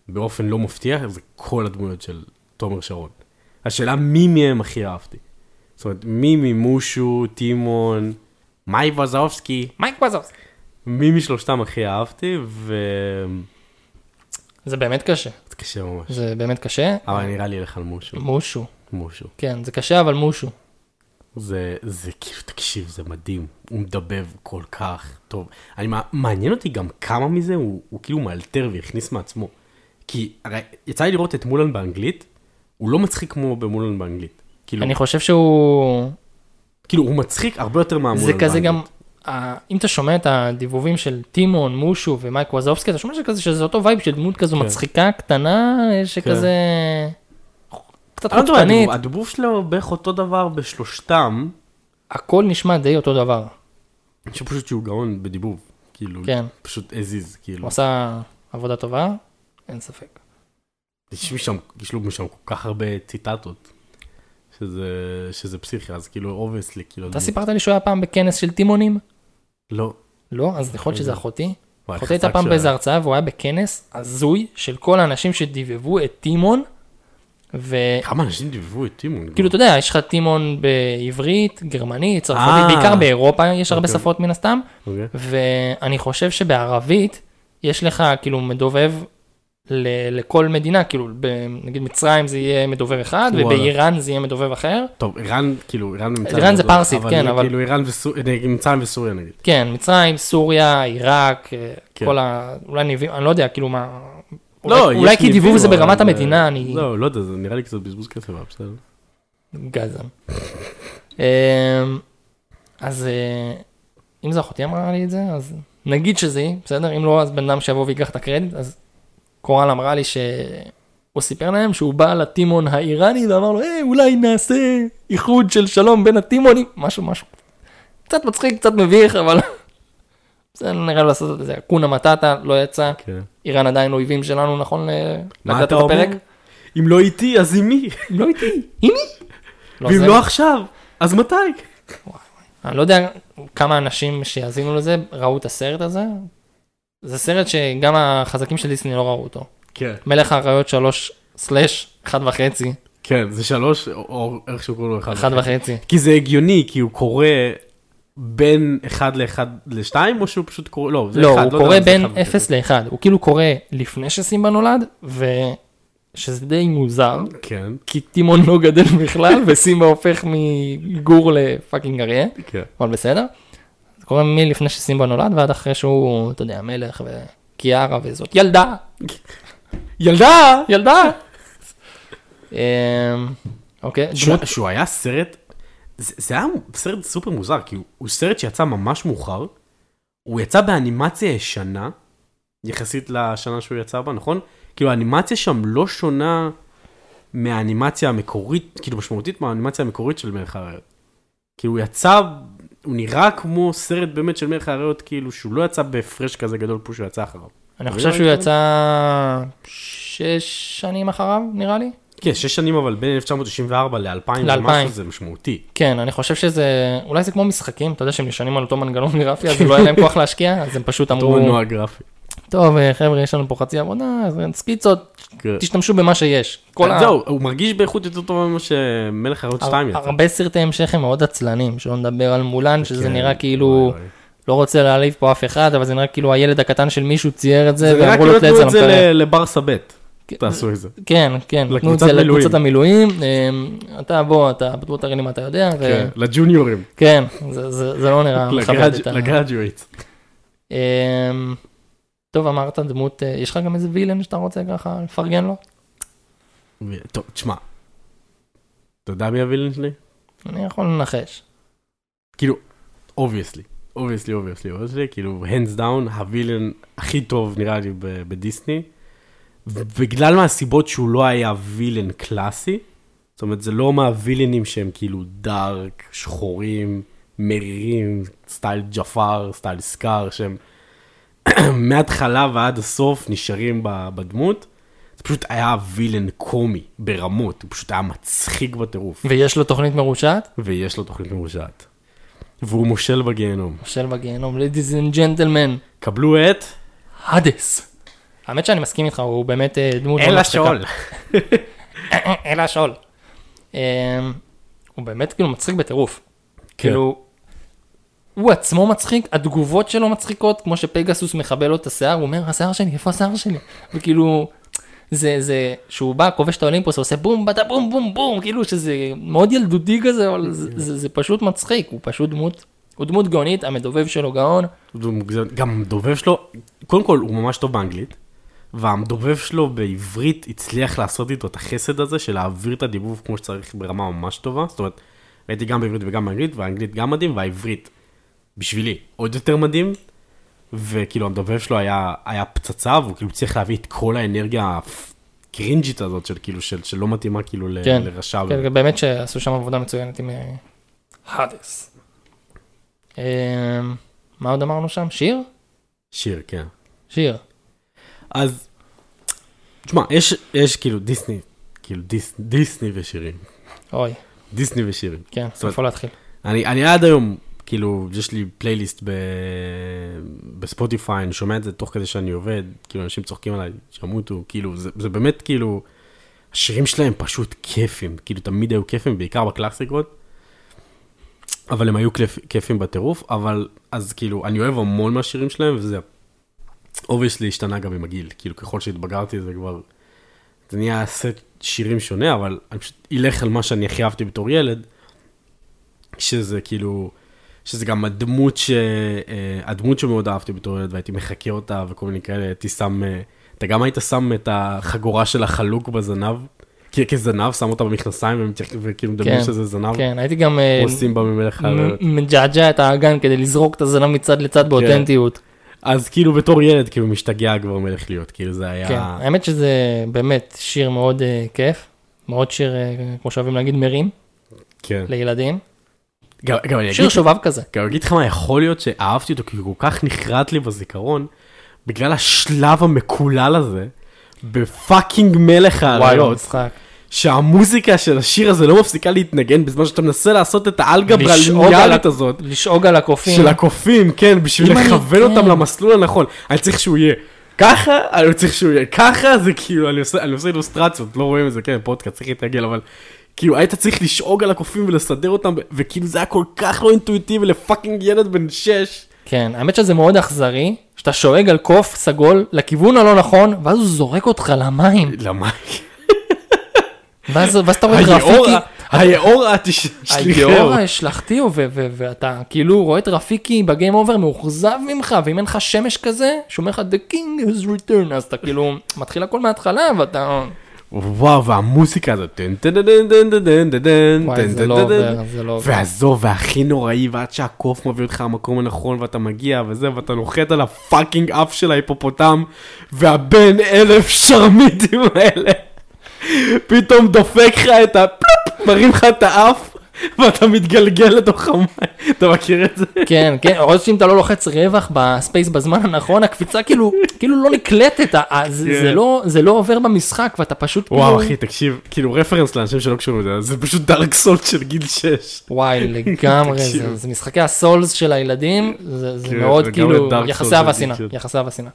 באופן לא מפתיע, זה כל הדמויות של תומר שרון. השאלה מי מהם הכי אהבתי. זאת אומרת, מי ממושו, טימון, מאי וזובסקי, מייק וואזוס. מי משלושתם הכי אהבתי, ו... זה באמת קשה. זה קשה ממש. זה באמת קשה. אבל נראה לי אלך על מושו, מושו. מושו. כן, זה קשה אבל מושו. כאילו- זה, זה כאילו, תקשיב, זה מדהים. הוא מדבב כל כך טוב. אני, מע- מעניין אותי גם כמה מזה הוא, הוא כאילו מאלתר והכניס מעצמו. כי הרי יצא לי לראות את מולן באנגלית, הוא לא מצחיק כמו במולן באנגלית. כאילו, אני חושב שהוא... כאילו הוא מצחיק הרבה יותר מהמולן זה באנגלית. כזה גם... ה- אם אתה שומע את הדיבובים של טימון, מושו ומייק וואזובסקי, אתה שומע שכזה שזה אותו וייב של דמות כזו כן. מצחיקה, קטנה, אה, שכזה... קצת אני לא יודע, חוצפנית, הדיבוב- הדיבוב שלו בערך אותו דבר בשלושתם, הכל נשמע די אותו דבר. שפשוט שהוא גאון בדיבוב. כאילו, כן, פשוט הזיז, כאילו. הוא עשה עבודה טובה, אין ספק. יש משם, יש לו משם כל כך הרבה ציטטות, שזה, שזה פסיכי, אז כאילו, אובייסלי, כאילו... אתה הדמות- סיפרת לי שהוא היה פעם בכנס של טימונים? לא. לא, אז יכול להיות שזה אחותי. וואי, אחותי הייתה חזק פעם שהיה. באיזה הרצאה והוא היה בכנס הזוי של כל האנשים שדיבבו את טימון, וכאילו, כמה אנשים דיבבו את לא? טימון. אתה יודע, יש לך טימון בעברית, גרמנית, אה. צרפתית, בעיקר באירופה יש הרבה אוקיי. שפות מן הסתם, אוקיי. ואני חושב שבערבית יש לך כאילו מדובב ל- לכל מדינה, כאילו ב- נגיד מצרים זה יהיה מדובב אחד, וואלה. ובאיראן זה יהיה מדובב אחר. טוב, איראן, כאילו, איראן נמצא... איראן זה פרסית, כן, אבל- כאילו, איראן וסוריה, נמצא בסוריה נגיד. כן, מצרים, סוריה, עיראק, כן. כן. כל ה... אולי ניבים, אני לא יודע, כאילו מה... לא, אולי, יש אולי כי ניבים, דיבוב זה אבל- ברמת המדינה, אני לא, לא יודע, זה נראה לי קצת בזבוז כסף, אבל בסדר. גזם. אמ, אז אה, אם זה אחותי אמרה לי את זה, אז נגיד שזה היא, בסדר? אם לא, אז בן אדם שיבוא ויקח את הקרדיט, אז קורל אמרה לי ש... הוא סיפר להם שהוא בא לטימון האיראני ואמר לו, היי, אולי נעשה איחוד של שלום בין הטימונים, משהו, משהו. קצת מצחיק, קצת מביך, אבל... זה נראה לי לעשות את זה, קונה מטאטה, לא יצא, כן. איראן עדיין אויבים שלנו, נכון? ל- מה להקלטת אתה אומר? הפרק? אם לא איתי, אז עם מי? לא איתי, עם מי? ואם זה- לא עכשיו, אז מתי? אני לא יודע כמה אנשים שיאזינו לזה ראו את הסרט הזה. זה סרט שגם החזקים של דיסני לא ראו אותו. כן. מלך האריות 3 סלאש 1 וחצי, כן, זה שלוש, או- או איך שהוא קורא לו, אחד. 1 וחצי. כי זה הגיוני, כי הוא קורא בין אחד לאחד לשתיים, או שהוא פשוט קורא, לא, זה לא, אחד, הוא יודע קורא אם זה בין אחד וחצי. 0 ל-1, הוא כאילו קורא לפני שסימבה נולד, ושזה די מוזר, כן, כי טימון לא גדל בכלל, וסימבה הופך מגור לפאקינג אריה, כן. אבל בסדר. זה קורה מלפני שסימבה נולד ועד אחרי שהוא, אתה יודע, מלך וקיארה וזאת ילדה. ילדה! ילדה. אמ, אוקיי, שהוא, דמות, שהוא היה סרט, זה, זה היה סרט סופר מוזר, כי הוא, הוא סרט שיצא ממש מאוחר, הוא יצא באנימציה ישנה, יחסית לשנה שהוא יצא בה, נכון? כאילו האנימציה שם לא שונה מהאנימציה המקורית, כאילו משמעותית מהאנימציה המקורית של מלך האריות. כאילו הוא יצא, הוא נראה כמו סרט באמת של מלך האריות, כאילו שהוא לא יצא בהפרש כזה גדול פה שהוא יצא אחריו. אני לא אתה חושב מבין שהוא מה אני יצא שש שנים אחריו, נראה לי. כן, שש שנים אבל בין 1994 ל-2000 ל- ומשהו 2000. זה משמעותי. כן, אני חושב שזה, אולי זה כמו משחקים, אתה יודע שהם נשענים על אותו מנגנון גרפי, אז לא היה להם כוח להשקיע, אז הם פשוט אותו אמרו, מנוע גרפי. טוב אה, חבר'ה, יש לנו פה חצי עבודה, אז סקיצות, כן. תשתמשו במה שיש. כל ה- זהו, הוא מרגיש באיכות יותר טובה ממה שמלך האריות 2 יצא. הרבה סרטי המשך הם מאוד עצלנים, שלא נדבר על מולן, שזה כן, נראה וואי, כאילו, וואי. לא רוצה להעליב פה אף אחד, אבל זה נראה כאילו הילד הקטן של מישהו צייר את זה, זה נראה ואמרו כאילו לו נתנו תעץ על את זה המקרר. ל- לברסה ב', כן, תעשו את זה. כן, כן, תנו את לקבוצת זה מילואים. לקבוצת המילואים, אמ, אתה בוא, אתה בוא תראה לי מה אתה יודע, ו- כן, לג'וניורים, כן, זה- זה זה לא נראה מכבד את ה... לגראג'ואט. אמ, טוב, אמרת דמות, אה, יש לך גם איזה וילן שאתה רוצה ככה לפרגן לו? טוב, תשמע. אתה יודע מי הווילן שלי? אני יכול לנחש. כאילו, אובייסלי. אובייסלי, אובייסלי, אובייסלי, כאילו, hands down, הווילן הכי טוב נראה לי ב- בדיסני. בגלל מהסיבות שהוא לא היה וילן קלאסי, זאת אומרת, זה לא מהווילנים שהם כאילו דארק, שחורים, מרירים, סטייל ג'פר, סטייל סקאר, שהם מההתחלה ועד הסוף נשארים ב- בדמות. זה פשוט היה וילן קומי ברמות, הוא פשוט היה מצחיק בטירוף. ויש לו תוכנית מרושעת? ויש לו תוכנית מרושעת. והוא מושל בגיהנום. של בגיהנום, ladies and gentlemen, קבלו את... האדס. האמת שאני מסכים איתך, הוא באמת אה, דמות מאוד מצחיקה. אל השאול. אמ, הוא באמת כאילו מצחיק בטירוף. כאילו, הוא עצמו מצחיק, התגובות שלו מצחיקות, כמו שפגסוס מכבה לו את השיער, הוא אומר, השיער שלי, איפה השיער שלי? וכאילו, זה, זה, שהוא בא, כובש את האולימפוס, עושה בום, בדה בום, בום, בום, כאילו שזה מאוד ילדותי כזה, אבל זה, זה, זה פשוט מצחיק, הוא פשוט דמות, הוא דמות גאונית, המדובב שלו גאון, הוא מוגזם. גם המדובב שלו, קודם כל, הוא ממש טוב באנגלית, והמדובב שלו בעברית הצליח לעשות איתו את החסד הזה של להעביר את הדיבוב כמו שצריך ברמה ממש טובה. זאת אומרת, ראיתי גם בעברית וגם באנגלית, והאנגלית גם מדהים, והעברית, בשבילי, עוד יותר מדהים. וכאילו המדובב שלו היה, היה פצצה, והוא כאילו צריך להביא את כל האנרגיה הקרינג'ית הזאת של כאילו, של, שלא מתאימה כאילו ל- כן, לרשע. כן, כן, באמת שעשו שם עבודה מצוינת עם אה, האדס. אמ, מה עוד אמרנו שם? שיר? שיר, כן. שיר. אז, תשמע, יש, יש כאילו דיסני, כאילו דיס, דיסני ושירים. אוי, דיסני ושירים. כן, זאת אומרת- איפה להתחיל? אני, אני עד היום, כאילו, יש לי פלייליסט ב, בספוטיפיי, אני שומע את זה תוך כדי שאני עובד, כאילו, אנשים צוחקים עליי, שימותו, כאילו, זה, זה באמת כאילו, השירים שלהם פשוט כיפים, כאילו, תמיד היו כיפים, בעיקר בקלאסיקות, אבל הם היו כיפ, כיפים בטירוף, אבל אז כאילו, אני אוהב המון מהשירים שלהם, וזה אובייסלי השתנה גם עם הגיל, כאילו, ככל שהתבגרתי זה כבר, זה נהיה סט שירים שונה, אבל אני פשוט אלך על מה שאני הכי אהבתי בתור ילד. שזה כאילו, שזה גם הדמות, ש, אה, הדמות שמאוד אהבתי בתור ילד והייתי מחקה אותה וכל מיני כאלה, הייתי שם, אה, אתה גם היית שם את החגורה של החלוק בזנב, כ- כזנב, שם אותה במכנסיים ומתייח- וכאילו מדמיין כן, שזה זנב, כן, הייתי גם אה, אמ, עושים בה ממלך האריות. מ- מג'עג'ע את האגן כדי לזרוק את הזנב מצד כן. לצד באותנטיות. אז כאילו בתור ילד כאילו משתגע כבר מלך להיות, כאילו זה היה... כן, האמת שזה באמת שיר מאוד אה, כיף, מאוד שיר, אה, כמו שאוהבים להגיד, מרים כן. לילדים. גם, גם אני אגיד שיר שובב כזה. גם אני אגיד לך מה, יכול להיות שאהבתי אותו, כי הוא כל כך נחרט לי בזיכרון, בגלל השלב המקולל הזה, בפאקינג מלך האריות, המשחק. שהמוזיקה של השיר הזה לא מפסיקה להתנגן בזמן שאתה מנסה לעשות את האלגברה לשאוג על הליניאלית ה- הזאת, לשאוג על הקופים. של הקופים, כן, בשביל אם אני- לכוון אותם כן. למסלול הנכון. אני צריך שהוא יהיה ככה, אני צריך שהוא יהיה ככה, זה כאילו, אני עושה, אני עושה אילוסטרציות, לא רואים את זה, כן, פודקאסט, צריך להתרגל, אבל כאילו, היית צריך לשאוג על הקופים ולסדר אותם, ו- וכאילו זה היה כל כך לא אינטואיטיבי לפאקינג ילד בן 6. כן, האמת שזה מאוד אכזרי, שאתה שואג על קוף סגול לכיוון הלא נכון, ואז הוא זורק אותך למים, למה? ואז ואז אתה רואה את היאור, רפיקי. היאור התש- היאור שליחהו. השלכתיהו, ו- ו- ואתה כאילו רואה את רפיקי בגיים אובר מאוכזב ממך, ואם אין לך שמש כזה, שאומר לך The King has returned, אז אתה כאילו מתחיל הכל מההתחלה, ואתה... וואו, והמוסיקה הזאת, טן טן טן טן טן טן טן טן וואי, טן זה טן לא טן עובר, טן. זה לא עובר. ועזוב, והכי נוראי, ועד שהקוף מביא אותך למקום הנכון, ואתה מגיע, וזה, ואתה נוחת על הפאקינג אף של ההיפופוטם, והבן אלף שרמיטים האלה, פתאום דופק לך את ה... פלופ, מרים לך את האף, ואתה מתגלגל לתוך המים. אתה מכיר את זה? כן, כן, עוד שאם אתה לא לוחץ רווח בספייס בזמן הנכון, הקפיצה כאילו, כאילו לא נקלטת, ה- ה- זה- זה כן. לא- זה לא עובר במשחק ואתה פשוט כאילו... וואו, אחי, תקשיב, כאילו רפרנס לאנשים שלא קשורים לזה, זה פשוט דארק סולט של גיל 6. וואי, לגמרי, תקשיב. זה, זה משחקי הסולס של הילדים, זה, זה כן, מאוד לגמרי כאילו, דארק סולס יחסי של אהבה שנאה, אדיקציות. יחסי אהבה שנאה.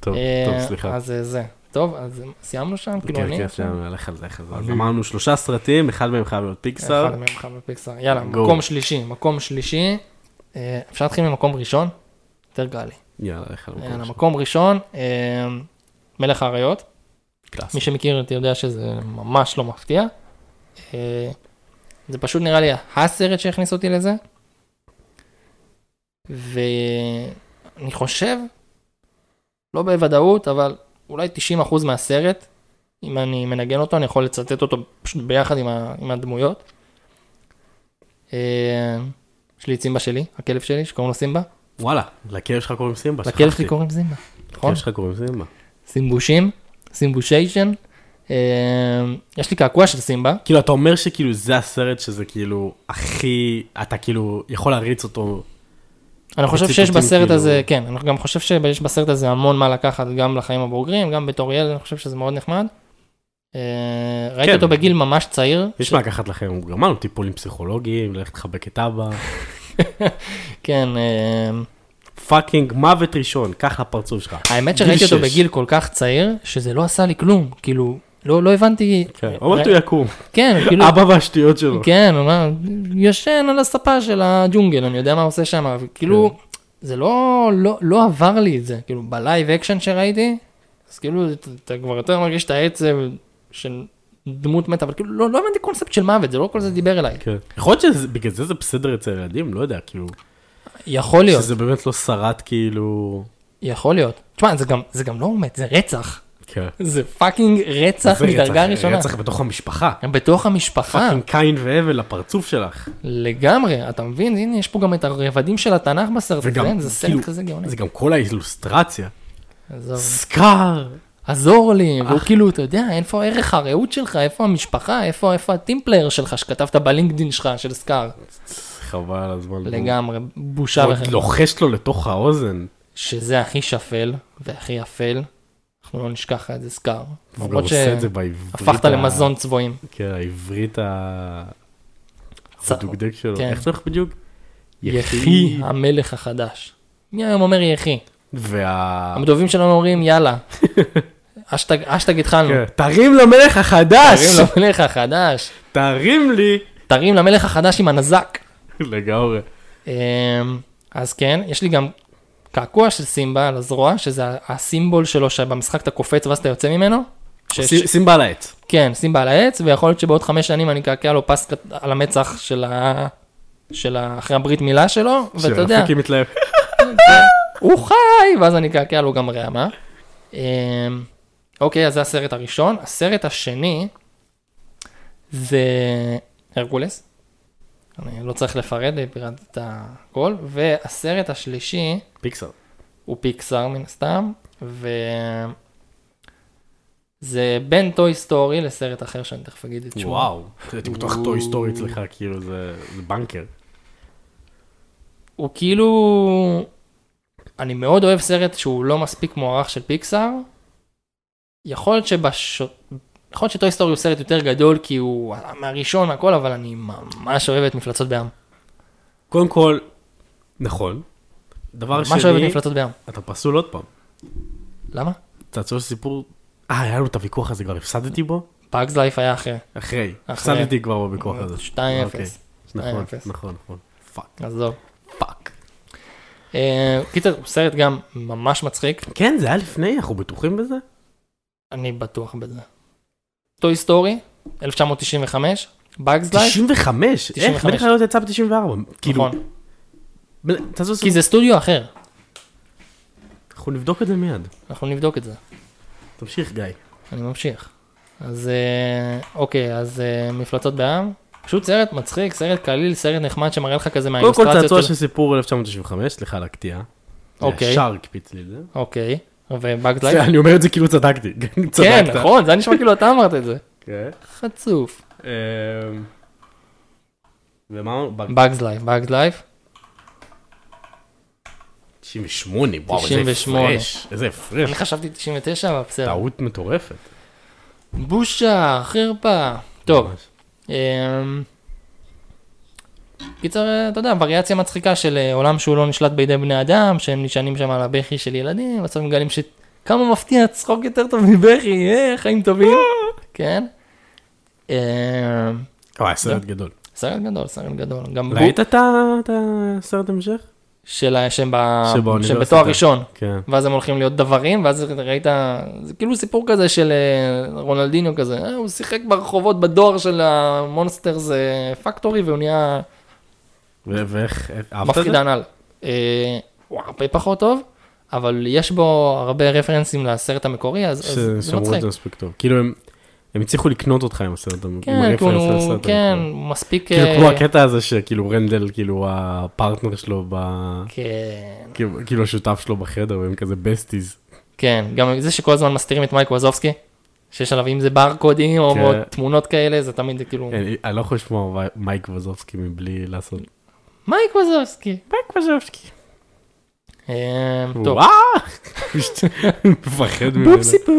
טוב, טוב, אה, סליחה. אז אה, זה, טוב, אז סיימנו שם? כאילו כן, אני? כן, סיימנו, לך על זה, לך על זה. אז אמרנו שלושה סרטים, אחד מהם חייב להיות פיקסאר. אחד מהם חייב בפיקסאר. יאללה, גו. מקום שלישי, מקום שלישי. אה, אפשר להתחיל ממקום ראשון? יותר קל לי. יאללה, לך על יאללה, מקום. מקום ראשון, אה, מלך האריות. קלאס. מי שמכיר אותי יודע שזה ממש לא מפתיע. אה, זה פשוט נראה לי הסרט שהכניס אותי לזה. ואני חושב, לא בוודאות, אבל אולי 90% מהסרט, אם אני מנגן אותו, אני יכול לצטט אותו פשוט ביחד עם, ה... עם הדמויות. אה, יש לי את סימבה שלי, הכלב שלי, שקוראים לו סימבה. וואלה, לכלב שלך קוראים סימבה, שכחתי. לכלב שלי קוראים סימבה, נכון? לכלב שלך קוראים סימבה. סימבושים, סימבושיישן. אה, יש לי קעקוע של סימבה, כאילו, אתה אומר שכאילו זה הסרט שזה כאילו הכי, אתה כאילו יכול להריץ אותו. אני חושב שיש ציטוטים בסרט כאילו- הזה, כן, אני גם חושב שיש בסרט הזה המון מה לקחת גם לחיים הבוגרים, גם בתור ילד, אני חושב שזה מאוד נחמד. אה, ראיתי כן. אותו בגיל ממש צעיר, יש מה לקחת לכם, הוא גמר לו טיפולים פסיכולוגיים, ללכת לחבק את אבא. כן, אה, פאקינג מוות ראשון, קח לפרצוף שלך. האמת גיל שראיתי אותו שש. בגיל כל כך צעיר, שזה לא עשה לי כלום, כאילו, לא לא הבנתי, כן, עוד הוא יקום, כן, כאילו, אבא והשטויות שלו. כן, הוא אמר, ישן על הספה של הג'ונגל, אני יודע מה הוא עושה שם, אבל כאילו, כן. זה לא, לא, לא עבר לי את זה, כאילו, בלייב אקשן שראיתי, אז כאילו, אתה- אתה כבר יותר מרגיש את העצב של דמות מתה, אבל כאילו, לא, לא הבנתי קונספט של מוות, זה לא כל זה דיבר אליי. כן. יכול להיות שבגלל זה זה בסדר אצל ילדים, לא יודע, כאילו, יכול להיות, שזה באמת לא שרט כאילו... יכול להיות. תשמע, זה גם, זה גם לא מת, זה רצח. כן. זה פאקינג רצח זה מדרגה רצח, ראשונה. אה. רצח בתוך המשפחה. בתוך המשפחה, פאקינג קין והבל לפרצוף שלך. לגמרי, אתה מבין? הנה, יש פה גם את הרבדים של התנ"ך בסרט הזה, וגם, כן, זה סרט כאילו, כזה גאוני. זה גם כל האילוסטרציה. עזוב. סקאר. עזור לי, אה. והוא כאילו, אתה יודע, איפה ערך הרעות שלך, איפה המשפחה, איפה, איפה הטימפלייר שלך שכתבת בלינקדין שלך, של סקאר. חבל על הזמן. לגמרי, בושה הוא עוד לא. וחרפה. לוחש לו לתוך האוזן. שזה הכי שפל והכי אפל, אנחנו לא נשכח לך את זה סקאר. הוא גם למרות עושה את זה בעברית. שהפכת ה- למזון צבועים. כן, העברית ה... צ- הדוגדג שלו. כן. איך צריך בדיוק? יחי המלך החדש. מי היום אומר יחי? אה. וה... המדובבים שלנו אומרים יאללה. אשטג אשטג התחלנו. כן, תרים למלך החדש! תרים למלך החדש. תרים לי! תרים למלך החדש עם הנזק. לגמרי. אמ, אז כן, יש לי גם קעקוע של סימבה על הזרוע, שזה הסימבול שלו שבמשחק אתה קופץ ואז אתה יוצא ממנו. ש- שים- שים בעל העץ. כן, סימבה על העץ, ויכול להיות שבעוד חמש שנים אני אקעקע לו פס קט- על המצח של ה... של ה... אחרי הברית מילה שלו, ואתה יודע, שרפיקים מתלהב. הוא חי, ואז אני אקעקע לו גם רעמה. אמ, אוקיי, אז זה הסרט הראשון. הסרט השני זה הרקולס. אני לא צריך לפרט, פירטתי את הכל. והסרט השלישי, פיקסר. הוא פיקסאר מן הסתם, ו... זה בין טוי סטורי לסרט אחר שאני תכף אגיד את שמו. וואו. הייתי בטוח טוי סטורי אצלך, כאילו זה זה בנקר. הוא כאילו... אני מאוד אוהב סרט שהוא לא מספיק מוערך של פיקסאר. יכול להיות שבש... יכול להיות שטוי סטורי הוא סרט יותר גדול כי הוא מהראשון הכל, אבל אני ממש אוהב את מפלצות בים. קודם כל, נכון. דבר ממש אוהב את שני, מפלצות בים. אתה פסול עוד פעם. למה? תעצור סיפור. אה, היה לנו את הוויכוח הזה, כבר הפסדתי בו? פאגס לייף היה אחרי. אחרי. אחרי. אה, הפסדתי כבר בוויכוח הזה. 2-0. אוקיי. נכון, 2-0. נכון, נכון. פאק. עזוב. פאק. אה, קיצר, הוא סרט גם ממש מצחיק. כן, זה היה לפני, אנחנו בטוחים בזה? אני בטוח בזה. טוי סטורי, 1995, Bugs Life, 95? איך? 95. בטח לא יצא ב-94. כאילו, נכון, בל- תעצור כי סיפור. זה סטודיו אחר, אנחנו נבדוק את זה מיד. אנחנו נבדוק את זה, אה, תמשיך, גיא. אני ממשיך. אז אה, אוקיי, אז אה, מפלצות בעם. פשוט סרט מצחיק, סרט קליל, סרט נחמד שמראה לך כזה קודם כל מהאילוסטרציות. צעצוע של- של סיפור 1995, סליחה על הקטיעה. אוקיי. ישר הקפיץ לי את זה. אוקיי, ובאגד זה, לייף. אני אומר את זה כאילו צדקתי. צדקת. כן, נכון, זה היה נשמע כאילו אתה אמרת את זה. כן. חצוף. אמ, ומה אמרנו? באגז לייף, באגז לייף. 98, וואו, איזה 98. הפרש. איזה הפרש. אני חשבתי 99, אבל בסדר. טעות מטורפת. בושה, חרפה. טוב, ממש. אמ, קיצר, אה, אתה יודע, וריאציה מצחיקה של אה, עולם שהוא לא נשלט בידי בני אדם, שהם נשענים שם על הבכי של ילדים, בסוף מגלים שכמה מפתיע, צחוק יותר טוב מבכי, אה, חיים טובים. כן. אמ, וואי, סרט גדול. סרט גדול, סרט גדול. גם בו ראית את ה- את הסרט המשך? של ה- שהם ב- שבאוניברסיטה. שהם בתואר ראשון. כן. ואז הם הולכים להיות דברים, ואז ראית, זה כאילו סיפור כזה של אה, רונלדיניו כזה, אה, הוא שיחק ברחובות בדואר של המונסטרס אה, פקטורי, והוא נהיה ו- ואיך, אהבת את זה? מפחיד הנ"ל. אה, הוא הרבה פחות טוב, אבל יש בו הרבה רפרנסים לסרט המקורי, אז, אז ש- זה שאמרו מצחיק. את זה מספיק טוב. כאילו הם, הם הצליחו לקנות אותך עם הסרט, המ- עם כן, כאילו, הרפרנס הוא- לסרט. כן, המקורי. הוא מספיק... כאילו אה, כמו הקטע הזה שכאילו רנדל, כאילו הפרטנר שלו, ב... כן, כאילו- כאילו השותף שלו בחדר, והם כזה בסטיז. כן, גם זה שכל הזמן מסתירים את מייק ווזובסקי, שיש עליו אם זה ברקודים או כן. מאוד תמונות כאלה, זה תמיד כאילו, אין, אני לא יכול לשמוע וי- מייק וזובסקי מבלי לעשות... מייק ווזובסקי. מייק וזובסקי. אה, טוב, וואו! מפחד ממנו. בופסיפו.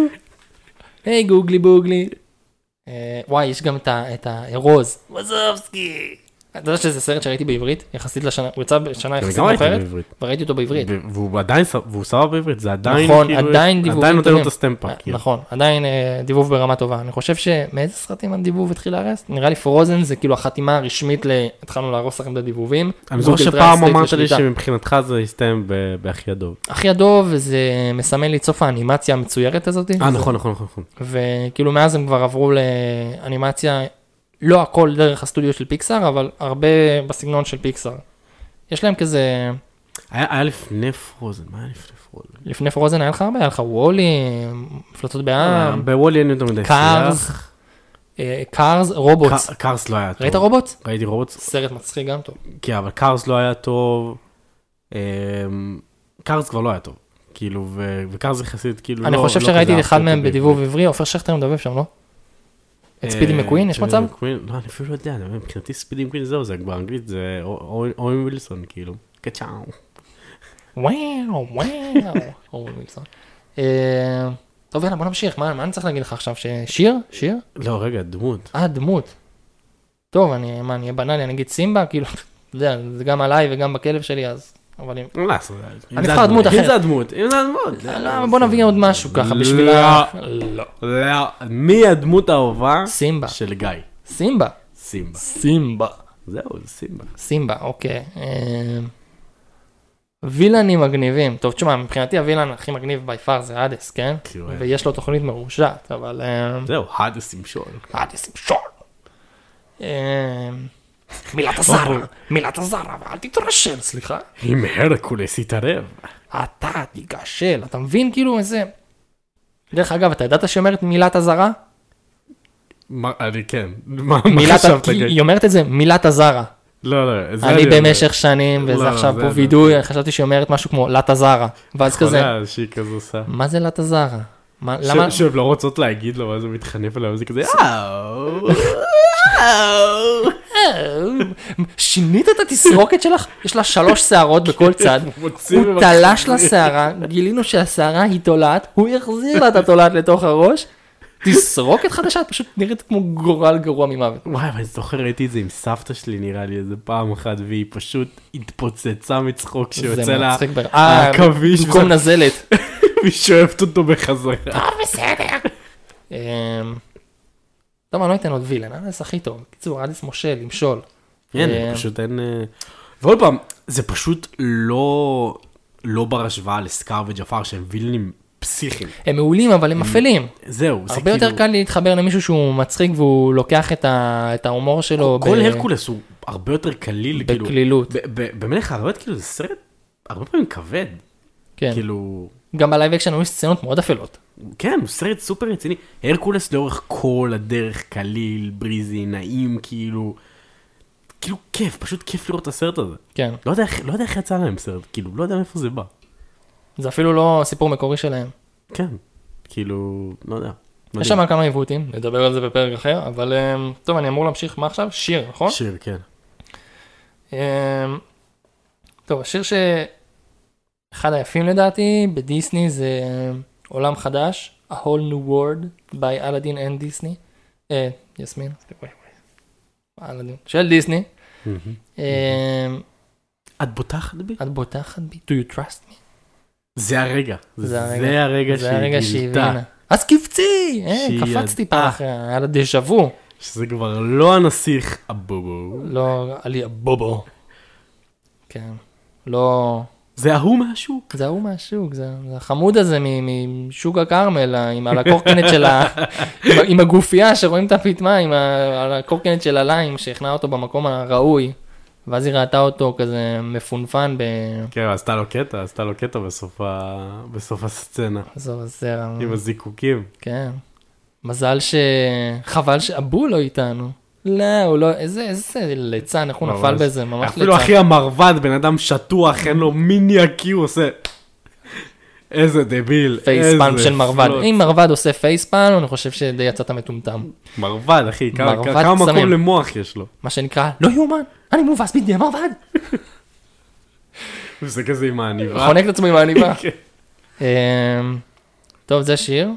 היי גוגלי בוגלי. אה, וואי, יש גם את ה- את הארוז. מזובסקי. אתה יודע שזה סרט שראיתי בעברית, יחסית לשנה, הוא יצא בשנה אני יחסית כן, גם ראיתי מאוחרת, בעברית. וראיתי אותו בעברית. ו- והוא עדיין, ס- והוא סבבה בעברית, זה עדיין, נכון, כאילו, עדיין דיבורים עדיין נותן לו טובים. את הסטמפה. כאילו. נכון, עדיין אה, דיבוב ברמה טובה. אני חושב שמאיזה סרטים הדיבוב התחיל להרס? נראה לי פרוזן זה כאילו החתימה הרשמית ל... התחלנו להרוס לכם את הדיבובים. אני זוכר Google שפעם Translate אמרת לי לשליטה. שמבחינתך זה הסתיים ב- בהכי הדוב. הכי הדוב זה מסמל לי את סוף האנימציה המצוירת הזאת. אה, זה- נכון, נכון, נכון. נכון. וכאילו מאז הם כבר עברו לאנימציה, לא הכל דרך הסטודיו של פיקסאר, אבל הרבה בסגנון של פיקסאר. יש להם כזה, היה היה לפני פרוזן, מה היה לפני פרוזן? לפני פרוזן היה לך הרבה, היה לך וולי, מפלצות בעם, בוולי אין יותר מדי קארס, אה, שיח. אה, קארס, רובוטס. ק- קארס לא היה טוב. ראית רובוטס? ראיתי רובוט, סרט מצחיק גם טוב. כן, אבל קארס לא היה טוב. אמ, קארס כבר לא היה טוב. כאילו, ו- וקארס יחסית, כאילו, אני לא- חושב לא שראיתי כזה אחד אהבתי מהם אותו בדיבוב בעברית. עברי, עופר שכטר מדבב שם, לא? את אה, ספידי מקווין, יש מצב? מקווין? לא, אני אפילו לא יודע, אני אומר, מבחינתי ספידי מקווין זהו, זה באנגלית זה אורן אורן ווילסון, כאילו. קצ'או. וואו, וואו. אורן וילסון. אה, טוב, יאללה, בוא נמשיך, מה מה אני צריך להגיד לך עכשיו? ששיר? שיר? לא, רגע, דמות. אה, דמות. טוב, אני, מה, אני אהיה בנאלי, אני אגיד סימבה, כאילו, אתה יודע, זה גם עליי וגם בכלב שלי, אז, אבל אם... לא לעשות. אם אני זה אבחר הדמות, דמות אם אחרת. זה הדמות, אם זה הדמות. לא, לא, בוא נביא עוד משהו ככה בשביל ה... לא. לא. מי הדמות האהובה סימבה. של גיא? סימבה. סימבה. סימבה. זהו, זה סימבה. סימבה, אוקיי. אה, וילנים מגניבים. טוב, תשמע, מבחינתי הווילן הכי מגניב בי פאר זה האדס, כן? כאילו, אה, ויש לו תוכנית מרושעת, אבל... אה, זהו, האדס ימשול. האדס עם שור. אה, מילת הזרה, מילת הזרה, ואל תתרשל, סליחה. אם הרקולס יתערב. אתה תיגשל, אתה מבין כאילו איזה... דרך אגב, אתה ידעת שהיא אומרת מילת אזהרה? מה, אני כן. מה מה מילת... חשבת? כי גיא? היא אומרת את זה, מילת אזהרה. לא, לא, זה אני אומר. במשך שנים, לא, וזה עכשיו זה פה אני וידוי, חשבתי שהיא אומרת משהו כמו לת אזהרה. ואז כזה, חולה שהיא כזה עושה. מה זה לת אזהרה? מה- ש- למה... שהן לא רוצות להגיד לו, ואז הוא מתחנף אליו, זה כזה, יאו. אה, שינית את התסרוקת שלך? יש לה שלוש שערות בכל צד. מוציא הוא ממך- תלש לה שערה, גילינו שהשערה היא תולעת, הוא החזיר לה את התולעת לתוך הראש. תסרוקת חדשה, את פשוט נראית כמו גורל גרוע ממוות. וואי, אבל אני זוכר, ראיתי את זה עם סבתא שלי, נראה לי, איזה פעם אחת, והיא פשוט התפוצצה מצחוק שיוצא לה מצחיק בר- אה, העכביש, במקום וזה- נזלת. והיא שואבת אותו בחזרה. טוב, בסדר. אמ, טוב, אני לא אתן עוד וילן, אנס הכי טוב. בקיצור, אנס מושל, למשול. אין, אה, כן, פשוט אין... אה, ועוד פעם, זה פשוט לא... לא בר השוואה לסקאר וג'פר שהם וילנים פסיכיים. הם מעולים, אבל הם אפלים. זהו, זה הרבה כאילו... יותר קל לי להתחבר למישהו שהוא מצחיק והוא לוקח את ה- את ההומור שלו ב- כל הרקולס הוא הרבה יותר קליל, כאילו... בקלילות. ב- ב- במלך הערבית, כאילו, זה סרט הרבה פעמים כבד. כן. כאילו... גם בלייב אקשן היו סצנות מאוד אפלות. כן, הוא סרט סופר רציני. הרקולס לאורך כל הדרך קליל, בריזי, נעים, כאילו... כאילו כיף, פשוט כיף לראות את הסרט הזה. כן. לא יודע, איך- לא יודע איך יצא להם סרט, כאילו, לא יודע מאיפה זה בא. זה אפילו לא סיפור מקורי שלהם. כן, כאילו, לא יודע. יש שם כמה עיוותים, נדבר על זה בפרק אחר, אבל אמ, טוב, אני אמור להמשיך, מה עכשיו? שיר, נכון? מדהים. שיר, כן. אמ, טוב, השיר ש... אחד היפים לדעתי בדיסני זה אמ, עולם חדש, A Whole New World by Aladdin and Disney. אה, יסמין. אלאדין. של דיסני. אוקיי. אמ, Mm-hmm. את בוטחת בי? את בוטחת בי? Do you trust me? זה הרגע. זה הרגע. זה הרגע זה הרגע שהיא גילתה הבינה. אז קפצי! אה, שהיא קפץ ידעה. טיפה אחריה, היה לה דז'ה וו. שזה כבר לא הנסיך הבובו. לא, עלי הבובו. כן. לא... זה ההוא מהשוק. זה ההוא מהשוק, זה זה החמוד הזה מ- משוק הכרמל, ה- עם על הקורקינט של ה... עם ה- עם הגופייה שרואים את הפיטמה, עם ה- על הקורקינט של הליים שהכנע אותו במקום הראוי, ואז היא ראתה אותו כזה מפונפן ב... כן, עשתה לו קטע, עשתה לו קטע בסוף ה- בסוף הסצנה. עזוב, זרע, עם הזיקוקים. כן. מזל ש... חבל שאבו לא איתנו. לא, הוא לא... איזה איזה ליצן, איך הוא נפל ממש. בזה, ממש אפילו ליצן. אחי המרבד, בן אדם שטוח, אין לו מיני הקי, הוא עושה... איזה דביל, איזה... פייספאלם של מרבד. פלוט. אם מרבד עושה פייספאלם, אני חושב שדי יצאת מטומטם. מרבד, אחי, כמה מרבד כמה מקום קסמים. למוח יש לו. מה שנקרא, לא יאומן, אני מובס בידי המרבד. זה כזה עם העניבה. חונק את עצמו עם העניבה. כן. אמ, טוב, זה שיר.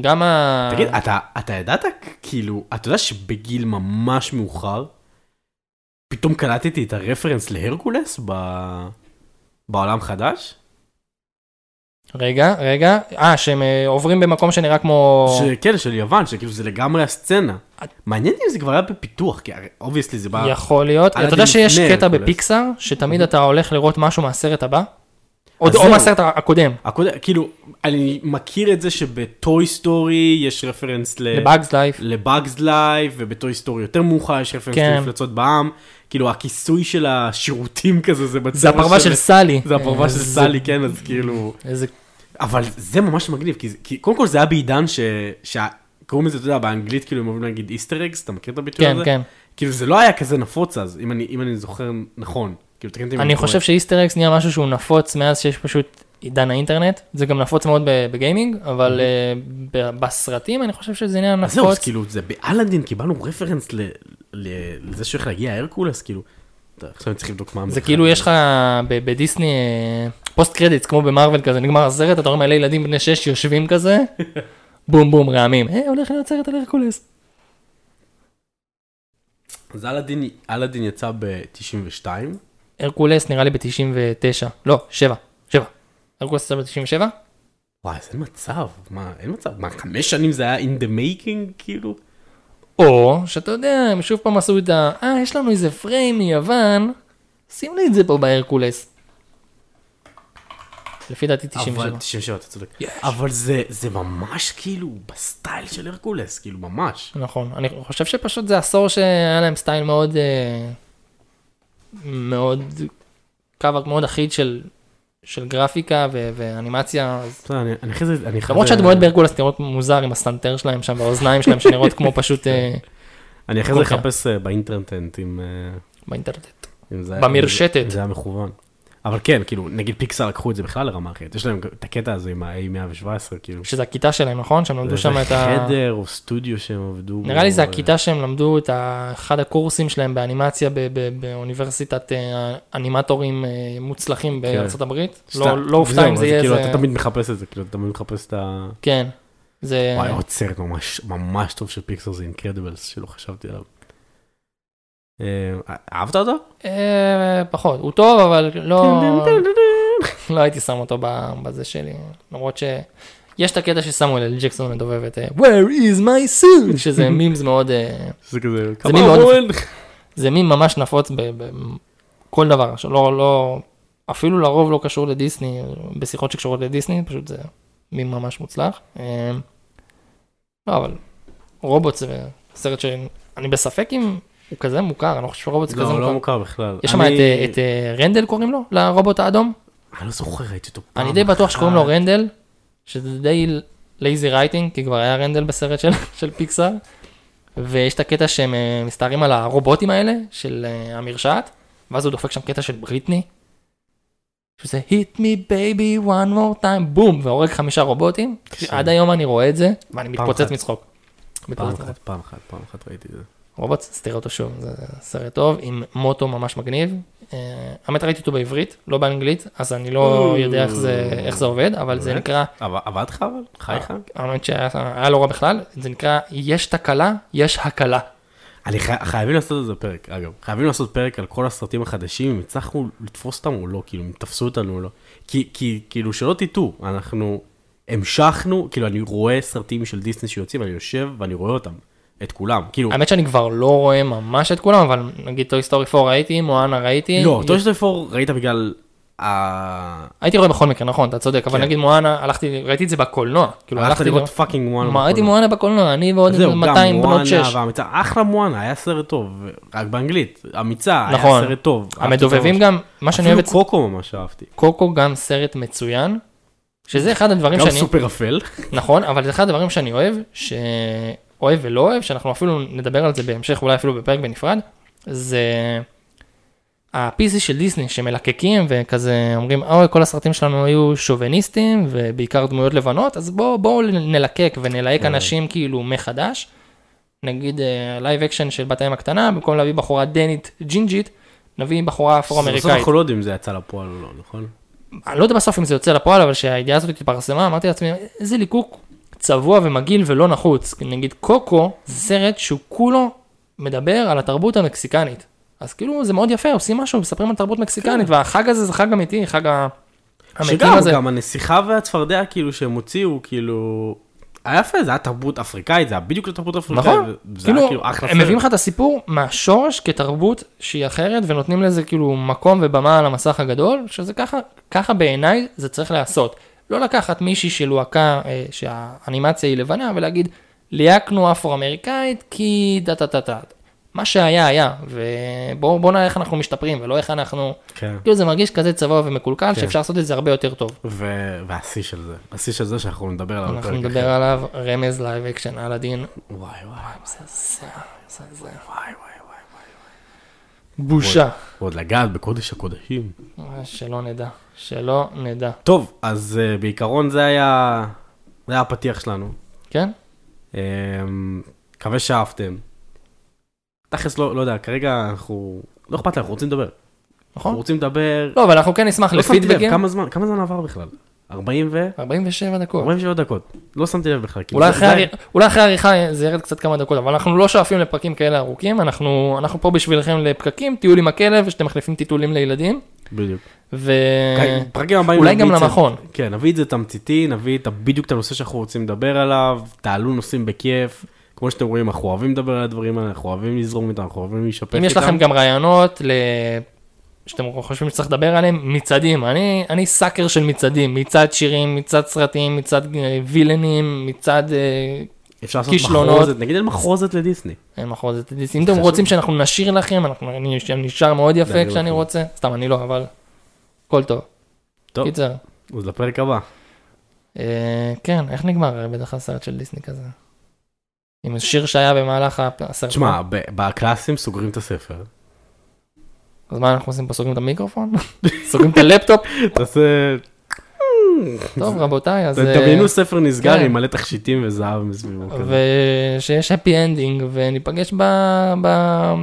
גם ה... תגיד, אתה, אתה ידעת, כאילו, אתה יודע שבגיל ממש מאוחר, פתאום קלטתי את הרפרנס להרקולס ב... בעולם חדש? רגע, רגע. אה, שהם אה, עוברים במקום שנראה כמו... שכן, כן, של יוון, שכאילו זה לגמרי הסצנה. מעניין אם זה כבר היה בפיתוח, כי אובייסלי זה בא... יכול להיות. אתה יודע אלאדין שיש לפני קטע הרקולס. בפיקסאר, שתמיד אתה הולך לראות משהו מהסרט הבא? עוד- זהו. או מהסרט הקודם, הקוד... כאילו, אני מכיר את זה שבטוי סטורי יש רפרנס ל... לבאגס לייף. לבאגס לייב, ובטוי סטורי יותר מאוחר יש רפרנס כן. למפלצות בעם. כאילו, הכיסוי של השירותים כזה זה בצבע זה הפרווה של סלי. זה הפרווה של אה, זה- סלי, כן, אז כאילו... איזה... אבל זה ממש מגניב, כי, זה- כי קודם כל זה היה בעידן ש... שה- קוראים לזה, אתה יודע, באנגלית כאילו הם אוהבים להגיד איסטר אגס, אתה מכיר את הביטוי כן, הזה? כן. כאילו זה לא היה כזה נפוץ אז, אם אני, אם אני זוכר נכון. כאילו, תקן אותי אם אני טועה. חושב שאיסטר-אקס נהיה משהו שהוא נפוץ מאז שיש פשוט עידן האינטרנט. זה גם נפוץ מאוד ב- בגיימינג, אבל אה, ב- בסרטים אני חושב שזה עניין אוקיי. אז זהו, אז נפוץ. כאילו, זה באלאדין קיבלנו רפרנס ל- ל- לזה שהולך להגיע הרקולס, כאילו, אתה- עכשיו אני צריך לבדוק מה... זה בכלל. כאילו יש לך ב- בדיסני אה, פוסט קרדיטס כמו במרוויל כזה, נגמר הסרט, אתה רואה מלא ילדים בני 6 יושבים כזה, בום בום רעמים. אה, הולך להיות סרט על הרקולס. אז אלאדין, אלאדין יצא ב-92, הרקולס נראה לי ב-99, לא, 7, 7. הרקולס יצא ב-97? וואי, אז אין מצב, מה, אין מצב, מה, חמש שנים זה היה in the making, כאילו? או שאתה יודע, הם שוב פעם עשו את ה... אה, יש לנו איזה פריים מיוון, שים לי את זה פה בהרקולס. לפי דעתי 97. אבל 97, אתה צודק. יש. אבל זה, זה ממש כאילו בסטייל של הרקולס, כאילו ממש. נכון, אני חושב שפשוט זה עשור שהיה להם סטייל מאוד, אה, מאוד, קו מאוד אחיד של, של גרפיקה ו- ואנימציה, אז בסדר, אני- אני אחרי זה, אני אחרי למרות זה- שהדמויות בהרגולס נראות מוזר עם הסטנטר שלהם שם והאוזניים שלהם שנראות כמו פשוט אה, אני אחרי זה אוקיי. אחפש אה, באינטרנט אם אה, באינטרנט. אם זה במרשתת. אם זה- אם זה היה מכוון. אבל כן, כאילו, נגיד פיקסר לקחו את זה בכלל לרמה אחרת, יש להם את הקטע הזה עם ה-A117, כאילו. שזה הכיתה שלהם, נכון? שהם למדו שם את ה... חדר או סטודיו שהם עבדו. נראה בו, לי זה אה, הכיתה שהם למדו את ה- אחד הקורסים שלהם באנימציה ב- ב- באוניברסיטת אה, אנימטורים אה, מוצלחים בארצות הברית. כן. סתם. לא- לא אופתע וזהו, אם אז זה יהיה כאילו, איזה... אתה תמיד מחפש את זה, כאילו, אתה תמיד מחפש את ה... כן. זה... וואי, עוד סרט ממש ממש טוב של פיקסר זה אינקרדיבלס, שלא חשבתי עליו. אה, אהבת אותו? כן, אה, פחות. הוא טוב, אבל לא... לא הייתי שם אותו ב- בזה שלי. למרות ש... יש את הקטע שסמואל אל ג'קסון מדובב את אה, Where is my suit? שזה מימס מאוד... אה, זה כזה, זה כמה מין לא מאוד- אורן? זה מין ממש נפוץ בכל דבר. עכשיו, לא... לא... אפילו לרוב לא קשור לדיסני, בשיחות שקשורות לדיסני, פשוט זה מין ממש מוצלח. אה, לא, אבל רובוט זה סרט שאני בספק אם הוא כזה מוכר, אני לא חושב שרובוט זה כזה לא, לא מוכר. מוכר בכלל. יש שם אני- את, אה, את אה, רנדל קוראים לו? לרובוט האדום? אני לא זוכר, ראיתי אותו פעם. אני די בטוח אחת. שקוראים לו רנדל, שזה די לייזי רייטינג, כי כבר היה רנדל בסרט של, של פיקסאר, ויש את הקטע שהם אה, מסתערים על הרובוטים האלה, של אה, המרשעת, ואז הוא דופק שם קטע של בריטני, שזה hit me baby one more time, בום, והורג חמישה רובוטים, קשה. עד היום אני רואה את זה, ואני מתפוצץ אחת. מצחוק. פעם מתפוצץ מצחוק. אחת, פעם אחת, פעם אחת ראיתי את זה. רובוטס, תראה אותו שוב, זה סרט טוב, עם מוטו ממש מגניב. אה, האמת ראיתי אותו בעברית, לא באנגלית, אז אני לא יודע איך זה, איך זה עובד, אבל זה באמת? נקרא, אבל- עבד לך אבל? אה, חייך? האמת שהיה היה לא רע בכלל, זה נקרא יש תקלה, יש הקלה. אני חי- חייבים לעשות איזה פרק, אגב. חייבים לעשות פרק על כל הסרטים החדשים, אם הצלחנו לתפוס אותם או לא, כאילו, אם תפסו אותנו או לא. כי, כי, כאילו, שלא תטעו, אנחנו המשכנו, כאילו, אני רואה סרטים של דיסני שיוצאים, אני יושב ואני רואה אותם, את כולם. כאילו, האמת שאני כבר לא רואה ממש את כולם, אבל נגיד טוי סטורי 4 ראיתי, מואנה ראיתי. לא, טוי סטורי 4 ראית בגלל ה... הייתי רואה בכל מקרה, נכון, אתה צודק, אבל כן. נגיד מואנה, הלכתי, ראיתי את זה בקולנוע. כאילו הלכת הלכתי לראות פאקינג מואנה. מה, ראיתי בקולנוע. מואנה בקולנוע, אני ועוד איזה זהו, גם 200 בנות מואנה 6. והאמיצה, אחלה מואנה, היה סרט טוב, רק באנגלית, אמיצה, היה נכון. סרט טוב. אהבתי אותו המדובבים ממש. גם, מה שאני אוהב אפילו אצל קוקו ממש אהבתי. קוקו גם סרט מצוין, שזה אחד הדברים גם שאני, סופר אפל. נכון, אבל זה אחד הדברים שאני אוהב, שאוהב ולא אוהב, שאנחנו אפילו נדבר על זה בהמשך, אולי אפילו בפרק בנפרד, זה ה-PC של דיסני שמלקקים וכזה אומרים, אוי, כל הסרטים שלנו היו שוביניסטים ובעיקר דמויות לבנות, אז בואו בוא נלקק ונלהק אנשים כאילו מחדש. נגיד לייב אקשן של בת הים הקטנה, במקום להביא בחורה דנית ג'ינג'ית, נביא בחורה בסוף אפרו-אמריקאית. אנחנו לא יודעים אם זה יצא לפועל או לא, נכון? אני לא יודע בסוף אם זה יוצא לפועל, אבל כשהידיעה הזאת התפרסמה, אמרתי לעצמי, איזה ליקוק צבוע ומגעיל ולא נחוץ. נגיד קוקו, זה סרט שהוא כולו מדבר על התרבות המקסיקנית. אז כאילו זה מאוד יפה, עושים משהו, מספרים על תרבות מקסיקנית, והחג הזה זה חג אמיתי, חג ה- כן. המתים שגם, הזה. גם הנסיכה והצפרדע כאילו שהם הוציאו, כאילו... היה יפה, זה היה תרבות אפריקאית, זה היה בדיוק לתרבות אפריקאית. נכון, זה היה כאילו, כאילו אחלה הם מביאים לך את הסיפור מהשורש כתרבות שהיא אחרת, ונותנים לזה כאילו מקום ובמה על המסך הגדול, שזה ככה, ככה בעיניי זה צריך להיעשות. לא לקחת מישהי שלוהקה, אה, שהאנימציה היא לבנה, ולהגיד, ליהקנו אפרו-אמריקאית, כי דה דה דה דה. מה שהיה היה, ובואו בוא נראה איך אנחנו משתפרים, ולא איך אנחנו, כן. כאילו זה מרגיש כזה צבוע ומקולקל, שאפשר לעשות את זה הרבה יותר טוב. ו- והשיא של זה, השיא של זה שאנחנו נדבר עליו. אנחנו בפרק נדבר אחר. עליו, רמז לייב אקשן, אלאדין, וואי וואי מזעזע, מזעזע. וואי וואי וואי. בושה. ועוד לגעת בקודש הקודשים. אה, שלא נדע, שלא נדע, טוב, אז אה, בעיקרון זה היה... זה היה הפתיח שלנו. כן? אמ, מקווה שאהבתם. תכלס לא, לא יודע, כרגע אנחנו... לא אכפת לנו, אנחנו רוצים לדבר. אנחנו נכון? רוצים לדבר... לא, אבל אנחנו כן נשמח לא שמתי לב, לפידבקים. כמה זמן, כמה זמן עבר בכלל? 40 ו... 47 דקות. 47 דקות. לא שמתי לב בכלל. כאילו, אולי זה- אחרי זה- הר- אולי אחרי העריכה זה ירד קצת כמה דקות, אבל אנחנו לא שואפים לפרקים כאלה ארוכים, אנחנו אנחנו פה בשבילכם לפקקים, טיול עם הכלב, שאתם מחליפים טיטולים לילדים, בדיוק. אוקיי, ואולי פרקים הבאים נביא אה, גם את זה- למכון. כן, נביא את זה תמציתי, נביא את ה- בדיוק את הנושא שאנחנו רוצים לדבר עליו, תעלו נושאים בכיף. כמו שאתם רואים, אנחנו אוהבים לדבר על הדברים האלה, אנחנו אוהבים לזרום איתם, אנחנו אוהבים להישפך אם איתם. יש לכם גם רעיונות ל... שאתם חושבים שצריך לדבר עליהם, מצעדים, אני, אני סאקר של מצעדים, מצעד שירים, מצעד סרטים, מצעד אה, וילנים, מצעד אה, אפשר לעשות כישלונות. מחרוזת, נגיד על מחרוזת לדיסני. אין מחרוזת דיסני. אם אתם רוצים שאנחנו נשיר לכם, אנחנו אני אני נשאר מאוד אני יפה לא כשאני יכול. רוצה, סתם אני לא, אבל הכל טוב. טוב. קיצר, אז לפרק הבא. אה, כן, איך נגמר בדרך כלל סרט של דיסני כזה? עם שיר שהיה במהלך הפ- הסרט. תשמע, ב- בקלאסים סוגרים את הספר. אז מה אנחנו עושים פה? סוגרים את המיקרופון? סוגרים את הלפטופ? תעשה... טוב, רבותיי, אז... אה, תדמיינו ספר נסגר כן. עם מלא תכשיטים וזהב מסביבו. כזה. ושיש happy ending וניפגש ב... ב...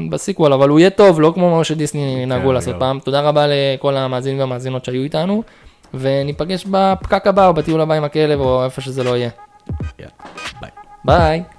בסיקוול אבל הוא יהיה טוב לא כמו מה שדיסני נהגו לעשות לגמרי. פעם תודה רבה לכל המאזינים והמאזינות שהיו איתנו וניפגש בפקק הבא או בטיול הבא עם הכלב או איפה שזה לא יהיה יאללה, ביי. ביי.